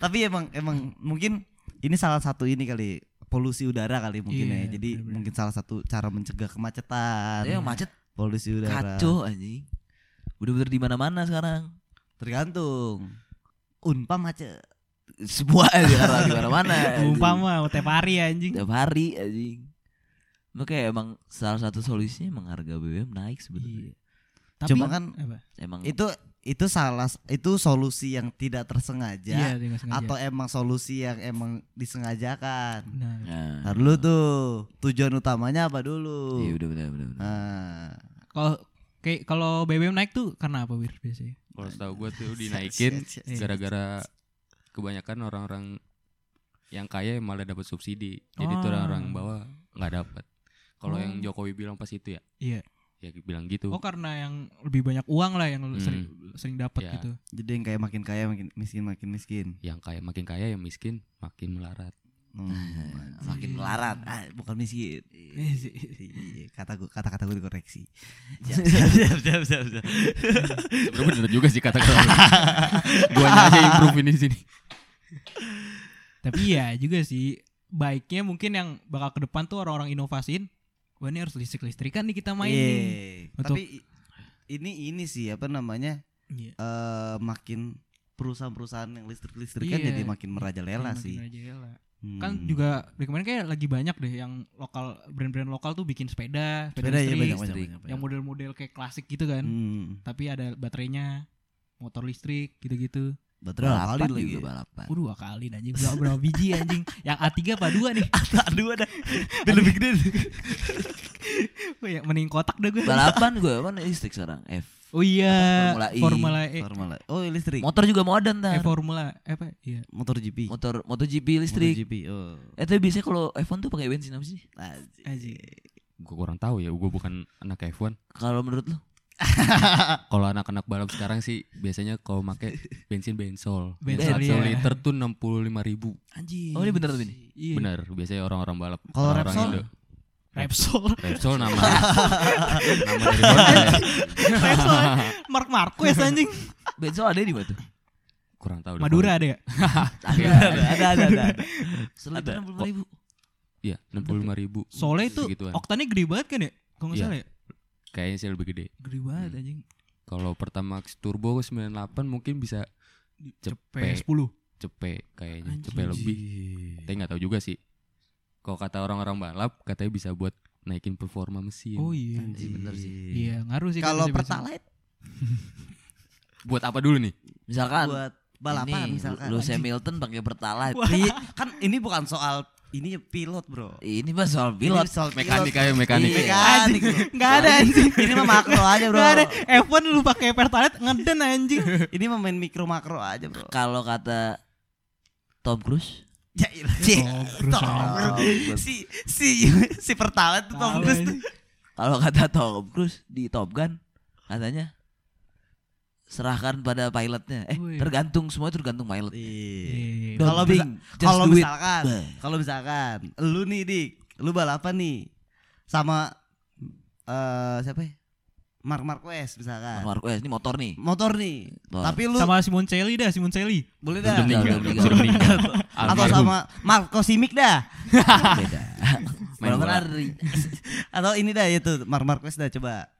[SPEAKER 2] Tapi emang emang mungkin ini salah satu ini kali polusi udara kali mungkin
[SPEAKER 1] Iya,
[SPEAKER 2] ya. Jadi
[SPEAKER 1] bener-bener.
[SPEAKER 2] mungkin salah satu cara mencegah kemacetan.
[SPEAKER 3] Tapi yang macet
[SPEAKER 2] polusi udara.
[SPEAKER 3] Iya, kacau anjing. Bener-bener di mana-mana sekarang.
[SPEAKER 2] Tergantung. Unpa macet.
[SPEAKER 3] Semua di
[SPEAKER 2] Nah,
[SPEAKER 3] mana-mana. anjing.
[SPEAKER 1] Umpama mau tiap hari anjing.
[SPEAKER 3] tiap hari anjing Makanya emang salah satu solusinya emang harga BBM naik sebenarnya.
[SPEAKER 2] Cuma kan
[SPEAKER 1] Apa?
[SPEAKER 3] Emang
[SPEAKER 2] itu itu salah itu solusi yang tidak tersengaja
[SPEAKER 1] Iya, dia nggak sengaja.
[SPEAKER 2] ya, atau emang solusi yang emang disengajakan.
[SPEAKER 1] Nah,
[SPEAKER 3] Nah,
[SPEAKER 2] Ntar dulu tuh tujuan utamanya apa dulu?
[SPEAKER 3] iya udah benar benar. benar.
[SPEAKER 2] Nah,
[SPEAKER 1] kalau kayak kalau BBM naik tuh karena apa Wir biasanya?
[SPEAKER 4] Kalau setahu gue tuh dinaikin
[SPEAKER 2] Shit, shit, shit.
[SPEAKER 4] gara-gara kebanyakan orang-orang yang kaya malah dapat subsidi. Jadi tuh
[SPEAKER 1] Ah.
[SPEAKER 4] orang-orang bawah nggak dapat. Kalau
[SPEAKER 1] Oh.
[SPEAKER 4] yang Jokowi bilang pas itu ya,
[SPEAKER 1] Iya.
[SPEAKER 4] ya bilang gitu.
[SPEAKER 1] Oh karena yang lebih banyak uang lah yang lu
[SPEAKER 4] Hmm.
[SPEAKER 1] sering sering dapat
[SPEAKER 2] Ya.
[SPEAKER 4] Iya.
[SPEAKER 1] gitu.
[SPEAKER 2] jadi yang kayak makin kaya makin miskin makin miskin.
[SPEAKER 4] Yang kaya makin kaya yang miskin makin melarat.
[SPEAKER 2] Hmm, makin melarat. Ah, bukan miskin. Iya, kata gua kata-kata gue dikoreksi. Siap, siap, siap, siap, siap.
[SPEAKER 4] Sebenarnya bener juga sih kata kata Gua aja improve ini di sini.
[SPEAKER 1] Tapi iya juga sih baiknya mungkin yang bakal ke depan tuh orang-orang inovasin. Wah ini harus listrik listrikan nih kita main
[SPEAKER 2] Iya.
[SPEAKER 1] nih. Untuk-
[SPEAKER 2] Tapi i- ini ini sih apa namanya?
[SPEAKER 1] Iya.
[SPEAKER 2] eh makin perusahaan-perusahaan yang listrik-listrikan
[SPEAKER 1] Iya.
[SPEAKER 2] jadi makin merajalela
[SPEAKER 1] Makin
[SPEAKER 2] sih.
[SPEAKER 1] merajalela.
[SPEAKER 2] Hmm.
[SPEAKER 1] Kan juga kemarin kayak lagi banyak deh yang lokal brand-brand lokal tuh bikin sepeda, sepeda,
[SPEAKER 2] Sepeda ya
[SPEAKER 1] listrik,
[SPEAKER 2] banyak, banyak, banyak,
[SPEAKER 1] yang
[SPEAKER 2] banyak.
[SPEAKER 1] model-model kayak klasik gitu kan.
[SPEAKER 2] Hmm.
[SPEAKER 1] Tapi ada baterainya, motor listrik gitu-gitu.
[SPEAKER 2] Betul kali
[SPEAKER 3] Balapan
[SPEAKER 2] lagi.
[SPEAKER 3] juga
[SPEAKER 2] Ah.
[SPEAKER 3] balapan.
[SPEAKER 1] Waduh akalin anjing berapa, berapa biji anjing Yang A3 apa 2 nih
[SPEAKER 2] Aduh ada. Dia lebih gede.
[SPEAKER 1] Wah, ya, Mending kotak dah gue
[SPEAKER 3] Balapan gue kan listrik sekarang F.
[SPEAKER 1] Oh iya
[SPEAKER 3] Formula E.
[SPEAKER 1] Formula E
[SPEAKER 2] Normal. Oh, listrik.
[SPEAKER 3] Motor juga modern
[SPEAKER 1] Eh,
[SPEAKER 3] tar.
[SPEAKER 1] Formula eh, apa Iya
[SPEAKER 2] Motor GP.
[SPEAKER 3] Motor MotoGP listrik.
[SPEAKER 2] GP. Oh. Ah,
[SPEAKER 3] Eh tapi biasanya kalau F1 tuh pakai bensin apa sih?
[SPEAKER 2] Anjing.
[SPEAKER 1] anjing.
[SPEAKER 4] Gua kurang tahu ya, gua bukan anak F1.
[SPEAKER 3] Kalau menurut lu?
[SPEAKER 4] Kalau anak-anak balap sekarang sih biasanya kalau make bensin bensol.
[SPEAKER 1] Bensol,
[SPEAKER 4] Bensin satu
[SPEAKER 1] iya.
[SPEAKER 4] liter tuh 65.000 ribu.
[SPEAKER 3] Anjir. Oh ini bener tuh ini.
[SPEAKER 1] Iya
[SPEAKER 4] Bener, biasanya orang-orang balap.
[SPEAKER 2] Kalau
[SPEAKER 4] orang-orang
[SPEAKER 2] Repsol?
[SPEAKER 4] Indo.
[SPEAKER 1] Repsol
[SPEAKER 4] Repsol nama. nama dari Honda ya?
[SPEAKER 1] Repsol Mark Marquez anjing
[SPEAKER 3] Bensin ada di mana tuh?
[SPEAKER 4] Kurang tahu. deh.
[SPEAKER 1] Madura ada ya
[SPEAKER 3] Ada ada ada ada. Selalu enam puluh ribu.
[SPEAKER 4] Iya, 65.000 ribu.
[SPEAKER 1] Soalnya itu
[SPEAKER 4] Segituan.
[SPEAKER 1] oktannya gede banget kan ya Kalau nggak
[SPEAKER 4] Iya.
[SPEAKER 1] salah ya
[SPEAKER 4] Kayaknya sih lebih gede.
[SPEAKER 1] Gede banget anjing
[SPEAKER 4] Kalau Pertamax Turbo 98 mungkin bisa
[SPEAKER 1] Cepet
[SPEAKER 4] Cepet.
[SPEAKER 1] 10
[SPEAKER 4] cepet kayaknya,
[SPEAKER 1] Anjing.
[SPEAKER 4] cepet lebih.
[SPEAKER 1] Iya.
[SPEAKER 4] Tapi nggak tahu juga sih. Kalau kata orang-orang balap katanya bisa buat naikin performa mesin.
[SPEAKER 1] Oh iya
[SPEAKER 3] Iya bener sih.
[SPEAKER 1] Iya ngaruh sih kata
[SPEAKER 2] Kalau
[SPEAKER 1] si Benson.
[SPEAKER 2] pertalite
[SPEAKER 4] Buat apa dulu nih?
[SPEAKER 1] Iya.
[SPEAKER 3] Misalkan
[SPEAKER 2] buat balapan
[SPEAKER 3] ini,
[SPEAKER 2] misalkan.
[SPEAKER 3] Lewis Hamilton pakai pertalite.
[SPEAKER 2] Iya, kan ini bukan soal ini pilot, Bro.
[SPEAKER 3] Ini mah soal
[SPEAKER 2] Pilot
[SPEAKER 3] pilot.
[SPEAKER 2] soal
[SPEAKER 4] Mekanik
[SPEAKER 2] pilot.
[SPEAKER 4] aja mekanik.
[SPEAKER 3] Iya.
[SPEAKER 2] Mekanik. bro.
[SPEAKER 1] Nggak kan ada anjing
[SPEAKER 2] ini mah makro aja, Bro.
[SPEAKER 1] Nggak ada F1 lu pakai pertalite ngeden anjing
[SPEAKER 2] Ini mah main mikro makro aja, Bro.
[SPEAKER 3] Kalau kata Tom Cruise,
[SPEAKER 2] Ya ilah. Cik.
[SPEAKER 1] Tom Cruise
[SPEAKER 2] Tom
[SPEAKER 1] aja.
[SPEAKER 2] Cruise. Si si si pertalite tuh Tom
[SPEAKER 1] Tahu
[SPEAKER 2] Cruise. tuh.
[SPEAKER 1] anjing.
[SPEAKER 3] kalau kata Tom Cruise di Top Gun, katanya serahkan pada pilotnya. Eh,
[SPEAKER 1] Wih.
[SPEAKER 3] tergantung semua itu tergantung pilot.
[SPEAKER 2] Iya.
[SPEAKER 1] Iya.
[SPEAKER 3] Don't
[SPEAKER 2] Kalau
[SPEAKER 3] think,
[SPEAKER 2] bisa-
[SPEAKER 3] just
[SPEAKER 2] Kalau
[SPEAKER 3] do it.
[SPEAKER 2] misalkan,
[SPEAKER 3] Bah.
[SPEAKER 2] kalau misalkan lu nih Dik, lu balapan nih sama eh siapa ya? Mark Marquez misalkan.
[SPEAKER 3] Mark Marquez eh, ini motor nih.
[SPEAKER 2] Motor nih.
[SPEAKER 3] Motor.
[SPEAKER 2] Tapi lu
[SPEAKER 1] Sama Simon Celi dah Simon Celi
[SPEAKER 2] boleh
[SPEAKER 4] Sudah
[SPEAKER 2] dah.
[SPEAKER 3] Demi-
[SPEAKER 4] meninggal,
[SPEAKER 3] Udah, udah,
[SPEAKER 4] sudah
[SPEAKER 3] udah.
[SPEAKER 4] meninggal.
[SPEAKER 2] Atau
[SPEAKER 4] Almarhum.
[SPEAKER 2] sama Marco Simic dah.
[SPEAKER 3] Beda.
[SPEAKER 4] Main
[SPEAKER 3] Main
[SPEAKER 4] bola.
[SPEAKER 3] Ferrari.
[SPEAKER 2] Atau ini dah itu Mark Marquez dah coba.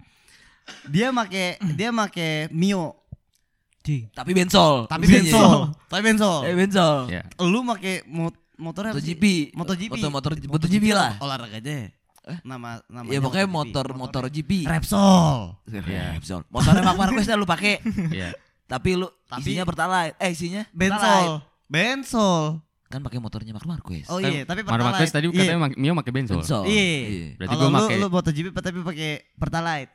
[SPEAKER 2] Dia make dia make Mio
[SPEAKER 1] Cing
[SPEAKER 3] Tapi bensol.
[SPEAKER 2] tapi
[SPEAKER 3] Iya,
[SPEAKER 2] bensol. Tapi
[SPEAKER 3] iya. Eh
[SPEAKER 2] bensol.
[SPEAKER 3] bensol.
[SPEAKER 4] Ya.
[SPEAKER 2] Lu make mot motornya apa sih?
[SPEAKER 3] MotoGP.
[SPEAKER 2] MotoGP.
[SPEAKER 3] Motor motor MotoGP lah.
[SPEAKER 2] Oh, olahraganya nama nama
[SPEAKER 3] Ya pokoknya motor motor GP.
[SPEAKER 2] Repsol
[SPEAKER 4] Iya.
[SPEAKER 3] Repsol. Motornya Mark Marquez dah lu pakai.
[SPEAKER 4] Iya.
[SPEAKER 3] Tapi lu
[SPEAKER 2] Tapi-
[SPEAKER 3] isinya pertalite. Eh isinya pertalite.
[SPEAKER 2] bensol bensol
[SPEAKER 3] Kan pakai motornya Mark Marquez.
[SPEAKER 2] oh iya tapi
[SPEAKER 4] Mark Marquez tadi
[SPEAKER 2] Iya.
[SPEAKER 4] katanya mak- Mio pakai bensol.
[SPEAKER 3] Bensol.
[SPEAKER 2] Iya.
[SPEAKER 4] Berarti
[SPEAKER 2] kalau
[SPEAKER 4] gua
[SPEAKER 2] lu
[SPEAKER 4] make-
[SPEAKER 2] lu MotoGP tapi pakai pertalite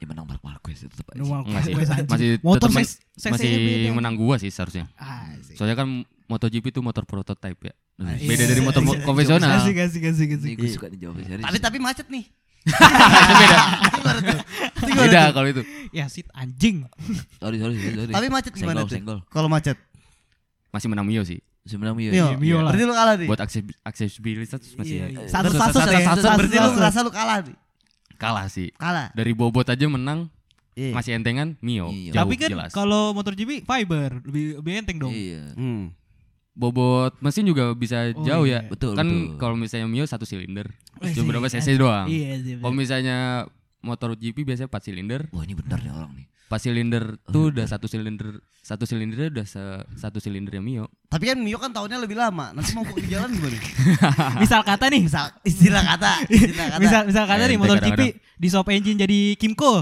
[SPEAKER 3] Ya menang Mark Marquez itu tetap aja.
[SPEAKER 1] Nomor
[SPEAKER 4] Enggak sih.
[SPEAKER 1] gue anjing.
[SPEAKER 4] Oh, Masih
[SPEAKER 1] motor
[SPEAKER 4] tetep men-
[SPEAKER 1] ses- ses-
[SPEAKER 4] Masih
[SPEAKER 1] saya beda.
[SPEAKER 4] menang gua sih seharusnya.
[SPEAKER 1] Ah, sih.
[SPEAKER 4] Soalnya kan MotoGP itu motor prototipe ya.
[SPEAKER 1] iya.
[SPEAKER 4] Beda dari motor mo- konvensional.
[SPEAKER 1] Kasih kasih kasih kasih.
[SPEAKER 3] Ini gue suka nih jawabnya serius.
[SPEAKER 2] tapi tapi macet nih
[SPEAKER 4] Itu beda. Beda kalau itu.
[SPEAKER 1] Ya sit anjing.
[SPEAKER 3] Sorry sorry sorry. sorry.
[SPEAKER 2] tapi macet gimana
[SPEAKER 3] senggol
[SPEAKER 2] tuh
[SPEAKER 3] senggol.
[SPEAKER 2] kalau macet
[SPEAKER 4] Masih menang Mio sih.
[SPEAKER 3] Sebenarnya Mio.
[SPEAKER 2] Mio
[SPEAKER 1] Mio lah.
[SPEAKER 2] berarti lu kalah nih
[SPEAKER 4] Buat akses aksesibilitas
[SPEAKER 1] Iya,
[SPEAKER 4] masih
[SPEAKER 1] iya.
[SPEAKER 2] satu satu
[SPEAKER 4] Satu-
[SPEAKER 2] ya
[SPEAKER 4] satu- satu-
[SPEAKER 2] berarti lu
[SPEAKER 1] satu-
[SPEAKER 2] ngerasa lu kalah nih
[SPEAKER 4] kalah sih.
[SPEAKER 2] kalah
[SPEAKER 4] Dari bobot aja menang
[SPEAKER 2] Iya.
[SPEAKER 4] masih entengan Mio.
[SPEAKER 3] Iya.
[SPEAKER 4] Jauh
[SPEAKER 1] Tapi kan
[SPEAKER 4] jelas.
[SPEAKER 1] kalau motor GP fiber lebih lebih enteng dong.
[SPEAKER 3] Iya.
[SPEAKER 2] Hmm.
[SPEAKER 4] bobot mesin juga bisa
[SPEAKER 1] Oh,
[SPEAKER 4] jauh
[SPEAKER 1] iya.
[SPEAKER 4] ya.
[SPEAKER 3] Betul,
[SPEAKER 4] kan
[SPEAKER 3] betul.
[SPEAKER 4] kalau misalnya Mio satu silinder,
[SPEAKER 1] Wih,
[SPEAKER 4] cuma berapa
[SPEAKER 1] sih.
[SPEAKER 4] cc doang.
[SPEAKER 1] Iya sih.
[SPEAKER 4] Kalau misalnya motor GP biasanya 4 silinder,
[SPEAKER 3] Wah ini benar nih orang nih.
[SPEAKER 4] 4 silinder tuh udah satu silinder, satu silindernya udah se- satu silindernya Mio.
[SPEAKER 2] Tapi kan Mio kan tahunnya lebih lama. Nanti mau di jalan gimana?
[SPEAKER 1] Misal kata nih,
[SPEAKER 2] Misal istilah kata, istilah kata.
[SPEAKER 1] misal misal kata Iya,
[SPEAKER 4] Ente
[SPEAKER 1] nih motor GP
[SPEAKER 4] kadang-kadang.
[SPEAKER 1] di swap engine jadi Kimco.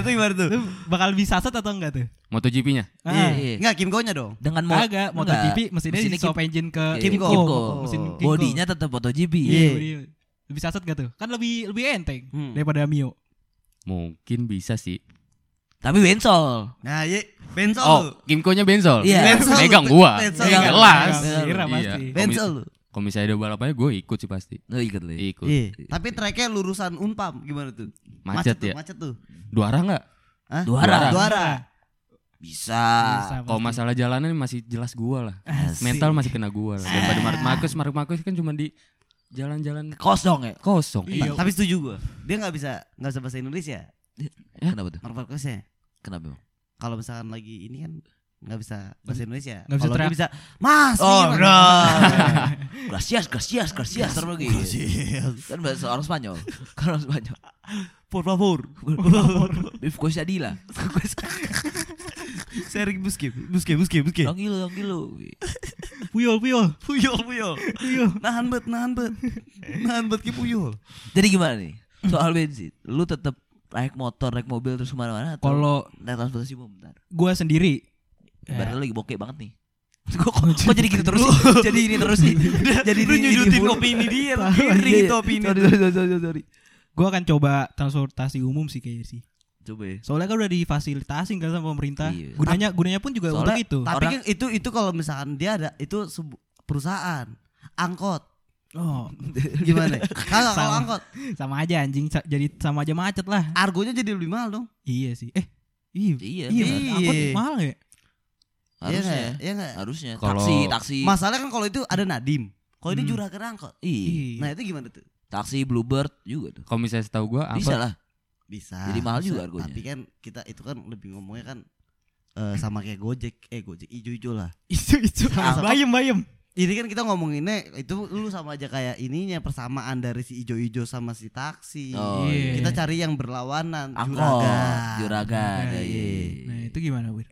[SPEAKER 3] itu gimana tuh?
[SPEAKER 1] Lu bakal disasat atau enggak tuh?
[SPEAKER 4] MotoGP-nya.
[SPEAKER 1] Ah.
[SPEAKER 3] Iya.
[SPEAKER 2] Enggak, Kim Go-nya dong.
[SPEAKER 3] Dengan mo-
[SPEAKER 1] Agak, MotoGP mesinnya di
[SPEAKER 3] Mesinnya
[SPEAKER 1] swap engine ke
[SPEAKER 3] Kim-
[SPEAKER 1] Kimco. Oh,
[SPEAKER 3] Kimco.
[SPEAKER 1] Mesin Kimco.
[SPEAKER 3] bodinya tetap MotoGP.
[SPEAKER 1] Iya, bodinya. Lebih sasat gak tuh? Kan lebih lebih enteng
[SPEAKER 2] Hmm.
[SPEAKER 1] daripada Mio.
[SPEAKER 4] Mungkin bisa sih.
[SPEAKER 3] Tapi Wensol.
[SPEAKER 2] Nah, iya, Bensol. lu.
[SPEAKER 4] Oh, Kimco-nya Benzol.
[SPEAKER 3] Iya.
[SPEAKER 2] Benzol.
[SPEAKER 4] Megang gua.
[SPEAKER 2] Benzol.
[SPEAKER 4] Megang Jelas.
[SPEAKER 1] Megang. Iya, Kira pasti.
[SPEAKER 4] Iya.
[SPEAKER 2] Bensol. lu.
[SPEAKER 4] Kalau misalnya ada balapannya gue ikut sih pasti.
[SPEAKER 3] Lo ikut lo. ya?
[SPEAKER 4] Ikut.
[SPEAKER 2] Iya. Tapi tracknya lurusan Unpam gimana tuh?
[SPEAKER 4] Macet,
[SPEAKER 2] tuh,
[SPEAKER 4] ya.
[SPEAKER 2] Macet tuh.
[SPEAKER 4] Dua arah nggak?
[SPEAKER 2] Hah?
[SPEAKER 3] Duara.
[SPEAKER 2] Duara.
[SPEAKER 3] Bisa.
[SPEAKER 1] Bisa,
[SPEAKER 4] Kalau
[SPEAKER 1] pasti.
[SPEAKER 4] masalah jalanan masih jelas gua lah.
[SPEAKER 3] Asik.
[SPEAKER 4] Mental masih kena gua lah. Daripada Mark Marcus, Mark Marcus kan cuma di jalan-jalan
[SPEAKER 3] Kosong ya.
[SPEAKER 4] kosong.
[SPEAKER 1] Iya.
[SPEAKER 2] Tapi setuju gua. Dia nggak bisa nggak bisa bahasa Indonesia.
[SPEAKER 3] Kenapa tuh?
[SPEAKER 2] Marvel Marcusnya.
[SPEAKER 3] Kenapa? Bang?
[SPEAKER 2] Kalau misalkan lagi ini kan nggak bisa bahasa Indonesia.
[SPEAKER 1] Nggak bisa
[SPEAKER 2] Kalau dia
[SPEAKER 1] teriak.
[SPEAKER 2] bisa, Mas.
[SPEAKER 3] Oh,
[SPEAKER 2] gimana?"
[SPEAKER 3] bro. Gracias, gracias, gracias. Terus lagi. Kan bahasa orang Spanyol. Kan orang Spanyol.
[SPEAKER 2] Por favor.
[SPEAKER 3] Beef quesadilla.
[SPEAKER 2] Sering buske, buske, buske, buske.
[SPEAKER 3] Dong ilu, dong ilu.
[SPEAKER 1] Puyol, puyol.
[SPEAKER 2] Puyol, puyol.
[SPEAKER 1] Puyol.
[SPEAKER 2] Nahan bet, nahan bet. Nahan bet ki puyol.
[SPEAKER 3] Jadi gimana nih? Soal bensin. Lu tetap naik motor, naik mobil terus kemana-mana atau
[SPEAKER 1] Kalau Eh.
[SPEAKER 3] naik transportasi umum? Bentar.
[SPEAKER 1] gue sendiri
[SPEAKER 3] Ibaratnya lu lagi bokeh banget nih. Kok, kok, kok jadi gitu terus sih? Jadi ini terus sih. jadi
[SPEAKER 2] Lu nyudutin opini dia, lu kiri itu opini.
[SPEAKER 3] Sorry, sorry, sorry, sorry, sorry.
[SPEAKER 1] gue akan coba transportasi umum sih kayaknya sih.
[SPEAKER 3] Coba ya.
[SPEAKER 1] Soalnya kan udah difasilitasin kan sama pemerintah.
[SPEAKER 3] Iya.
[SPEAKER 1] Gunanya gunanya pun juga
[SPEAKER 3] Soalnya-
[SPEAKER 1] untuk itu.
[SPEAKER 2] Tapi
[SPEAKER 3] Orang-
[SPEAKER 2] kan itu itu kalau misalkan dia ada itu sebu- perusahaan angkot
[SPEAKER 1] Oh,
[SPEAKER 2] gimana? Kalau kalau
[SPEAKER 1] Sama.
[SPEAKER 2] angkot
[SPEAKER 1] sama aja anjing sa- jadi sama aja macet lah.
[SPEAKER 2] argonya jadi lebih mahal dong.
[SPEAKER 1] Iya sih. Eh, iya.
[SPEAKER 3] Iya,
[SPEAKER 1] Iya,
[SPEAKER 2] iya.
[SPEAKER 1] angkot mahal ya?
[SPEAKER 2] Iya
[SPEAKER 3] harusnya.
[SPEAKER 2] nggak? Iya nggak?
[SPEAKER 3] Harusnya.
[SPEAKER 4] Kalau-
[SPEAKER 3] Taksi, taksi.
[SPEAKER 2] Masalah kan kalau itu ada Nadim. Kalau ini
[SPEAKER 1] Hmm.
[SPEAKER 2] juragan angkot.
[SPEAKER 3] Iya.
[SPEAKER 2] Nah, itu gimana tuh?
[SPEAKER 3] Taksi Bluebird juga tuh.
[SPEAKER 4] Kalau misalnya setahu gua angkot
[SPEAKER 3] Bisa lah.
[SPEAKER 2] Bisa.
[SPEAKER 3] Jadi mahal
[SPEAKER 2] bisa.
[SPEAKER 3] juga argonya.
[SPEAKER 2] Tapi kan kita itu kan lebih ngomongnya kan eh, sama kayak Gojek, eh Gojek ijo-ijo lah.
[SPEAKER 1] Itu itu. Ah,
[SPEAKER 2] Sama-sama.
[SPEAKER 1] Bayem bayem.
[SPEAKER 2] Ini kan kita ngomonginnya itu lu sama aja kayak ininya persamaan dari si ijo-ijo sama si taksi.
[SPEAKER 3] Oh,
[SPEAKER 1] Iya.
[SPEAKER 2] Kita cari yang berlawanan,
[SPEAKER 3] Angkot,
[SPEAKER 2] juragan.
[SPEAKER 3] juragan.
[SPEAKER 1] Nah,
[SPEAKER 3] iya.
[SPEAKER 1] Nah, itu gimana, Wir?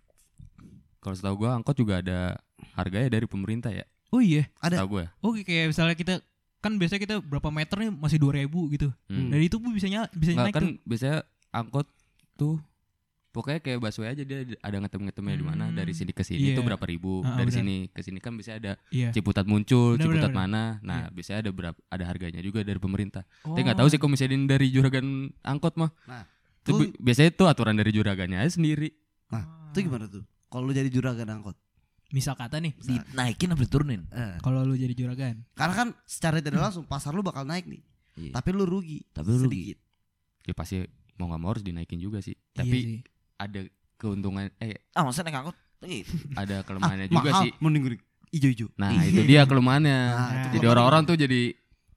[SPEAKER 4] Kalau setahu gua angkot juga ada harganya dari pemerintah ya.
[SPEAKER 1] Oh iya.
[SPEAKER 2] Ada.
[SPEAKER 4] Setahu gua. ya.
[SPEAKER 1] Oke, kayak misalnya kita kan biasanya kita berapa meter nih masih 2000 gitu.
[SPEAKER 4] Hmm.
[SPEAKER 1] Dari itu pun bisa nyala, bisa
[SPEAKER 4] Nggak,
[SPEAKER 1] naik
[SPEAKER 4] kan
[SPEAKER 1] tuh.
[SPEAKER 4] biasanya angkot tuh pokoknya kayak busway aja dia ada ngetem-ngetemnya di mana
[SPEAKER 1] Hmm.
[SPEAKER 4] dari sini ke sini
[SPEAKER 1] Iya.
[SPEAKER 4] tuh berapa ribu,
[SPEAKER 1] Ah, ah,
[SPEAKER 4] dari
[SPEAKER 1] benar.
[SPEAKER 4] sini ke sini kan bisa ada
[SPEAKER 1] Iya.
[SPEAKER 4] Ciputat muncul,
[SPEAKER 1] Benar, benar,
[SPEAKER 4] Ciputat
[SPEAKER 1] Iya.
[SPEAKER 4] mana. Nah, biasanya ada berapa ada harganya juga dari pemerintah.
[SPEAKER 1] Oh.
[SPEAKER 4] Tapi nggak tahu sih kalau misalnya ini dari juragan angkot mah.
[SPEAKER 2] Nah,
[SPEAKER 4] Itu
[SPEAKER 2] tuh-
[SPEAKER 4] bi- biasanya itu aturan dari juragannya aja sendiri.
[SPEAKER 2] Itu gimana tuh? Kalau lu jadi juragan angkot.
[SPEAKER 1] Misal kata nih,
[SPEAKER 3] Dinaikin apa diturunin?
[SPEAKER 2] Eh,
[SPEAKER 1] kalau lu jadi juragan.
[SPEAKER 2] Karena kan secara tidak langsung pasar lu bakal naik nih.
[SPEAKER 3] Iya.
[SPEAKER 2] Tapi lu rugi.
[SPEAKER 3] Tapi lu rugi.
[SPEAKER 2] sedikit.
[SPEAKER 4] Ya pasti mau nggak mau harus dinaikin juga sih.
[SPEAKER 1] Iya
[SPEAKER 4] Tapi
[SPEAKER 1] sih.
[SPEAKER 4] ada keuntungan eh
[SPEAKER 3] Ah, masa naik angkot? Ih,
[SPEAKER 2] Ah,
[SPEAKER 4] ada kelemahannya juga
[SPEAKER 2] mahal,
[SPEAKER 4] sih.
[SPEAKER 2] mending gini, ijo-ijo.
[SPEAKER 4] Nah,
[SPEAKER 1] Iya.
[SPEAKER 4] itu dia kelemahannya.
[SPEAKER 2] Nah, itu
[SPEAKER 4] jadi
[SPEAKER 2] kelemahan.
[SPEAKER 4] orang-orang tuh jadi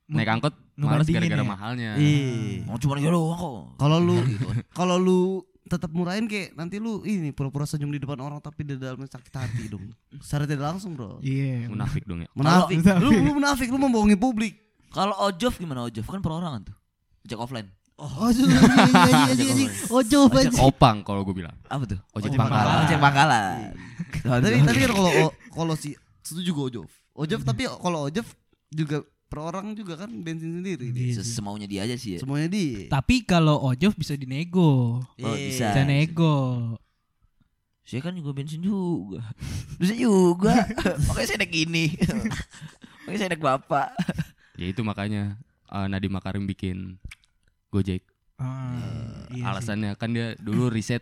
[SPEAKER 1] Mem-
[SPEAKER 4] naik angkot malas
[SPEAKER 1] ngebandingin
[SPEAKER 4] gara-gara
[SPEAKER 1] ya.
[SPEAKER 4] mahalnya.
[SPEAKER 2] Iya.
[SPEAKER 3] Mau cuma gitu doang kok.
[SPEAKER 2] Kalau lu
[SPEAKER 3] Gitu.
[SPEAKER 2] kalau lu tetap murahin kayak nanti lu ini pura-pura senyum di depan orang tapi di dalamnya sakit hati dong. Secara tidak langsung, Bro.
[SPEAKER 1] Iya.
[SPEAKER 4] Munafik dong ya.
[SPEAKER 2] Menafik.
[SPEAKER 1] Kalau-
[SPEAKER 2] Lu lu menafik, lu membohongi publik.
[SPEAKER 3] Kalau ojov gimana ojov? Kan perorangan tuh. Ojek offline.
[SPEAKER 2] Oh, iya iya
[SPEAKER 3] Ojek offline.
[SPEAKER 2] Ojo
[SPEAKER 3] Ojek
[SPEAKER 4] Opang kalau gue bilang.
[SPEAKER 3] Apa tuh?
[SPEAKER 4] Ojek
[SPEAKER 2] Ojek
[SPEAKER 4] pangkalan.
[SPEAKER 2] pangkalan.
[SPEAKER 3] Ojek pangkalan.
[SPEAKER 2] Tapi tapi kan kalau o- kalau si setuju gua Ojo. Ojo tapi kalau Ojo juga per orang juga kan bensin sendiri. dia.
[SPEAKER 1] Iya
[SPEAKER 3] Se-
[SPEAKER 1] sih.
[SPEAKER 3] Semaunya dia aja sih ya.
[SPEAKER 2] Semuanya di.
[SPEAKER 1] Tapi kalau ojol bisa dinego.
[SPEAKER 3] Oh,
[SPEAKER 4] Iya,
[SPEAKER 3] bisa.
[SPEAKER 1] Bisa nego.
[SPEAKER 3] Saya kan juga bensin juga. Bisa juga. Makanya saya naik ini. Makanya saya naik bapak.
[SPEAKER 4] Ya itu makanya eh, Nadiem Makarim bikin Gojek.
[SPEAKER 1] Ah, iya sih.
[SPEAKER 4] alasannya kan dia dulu riset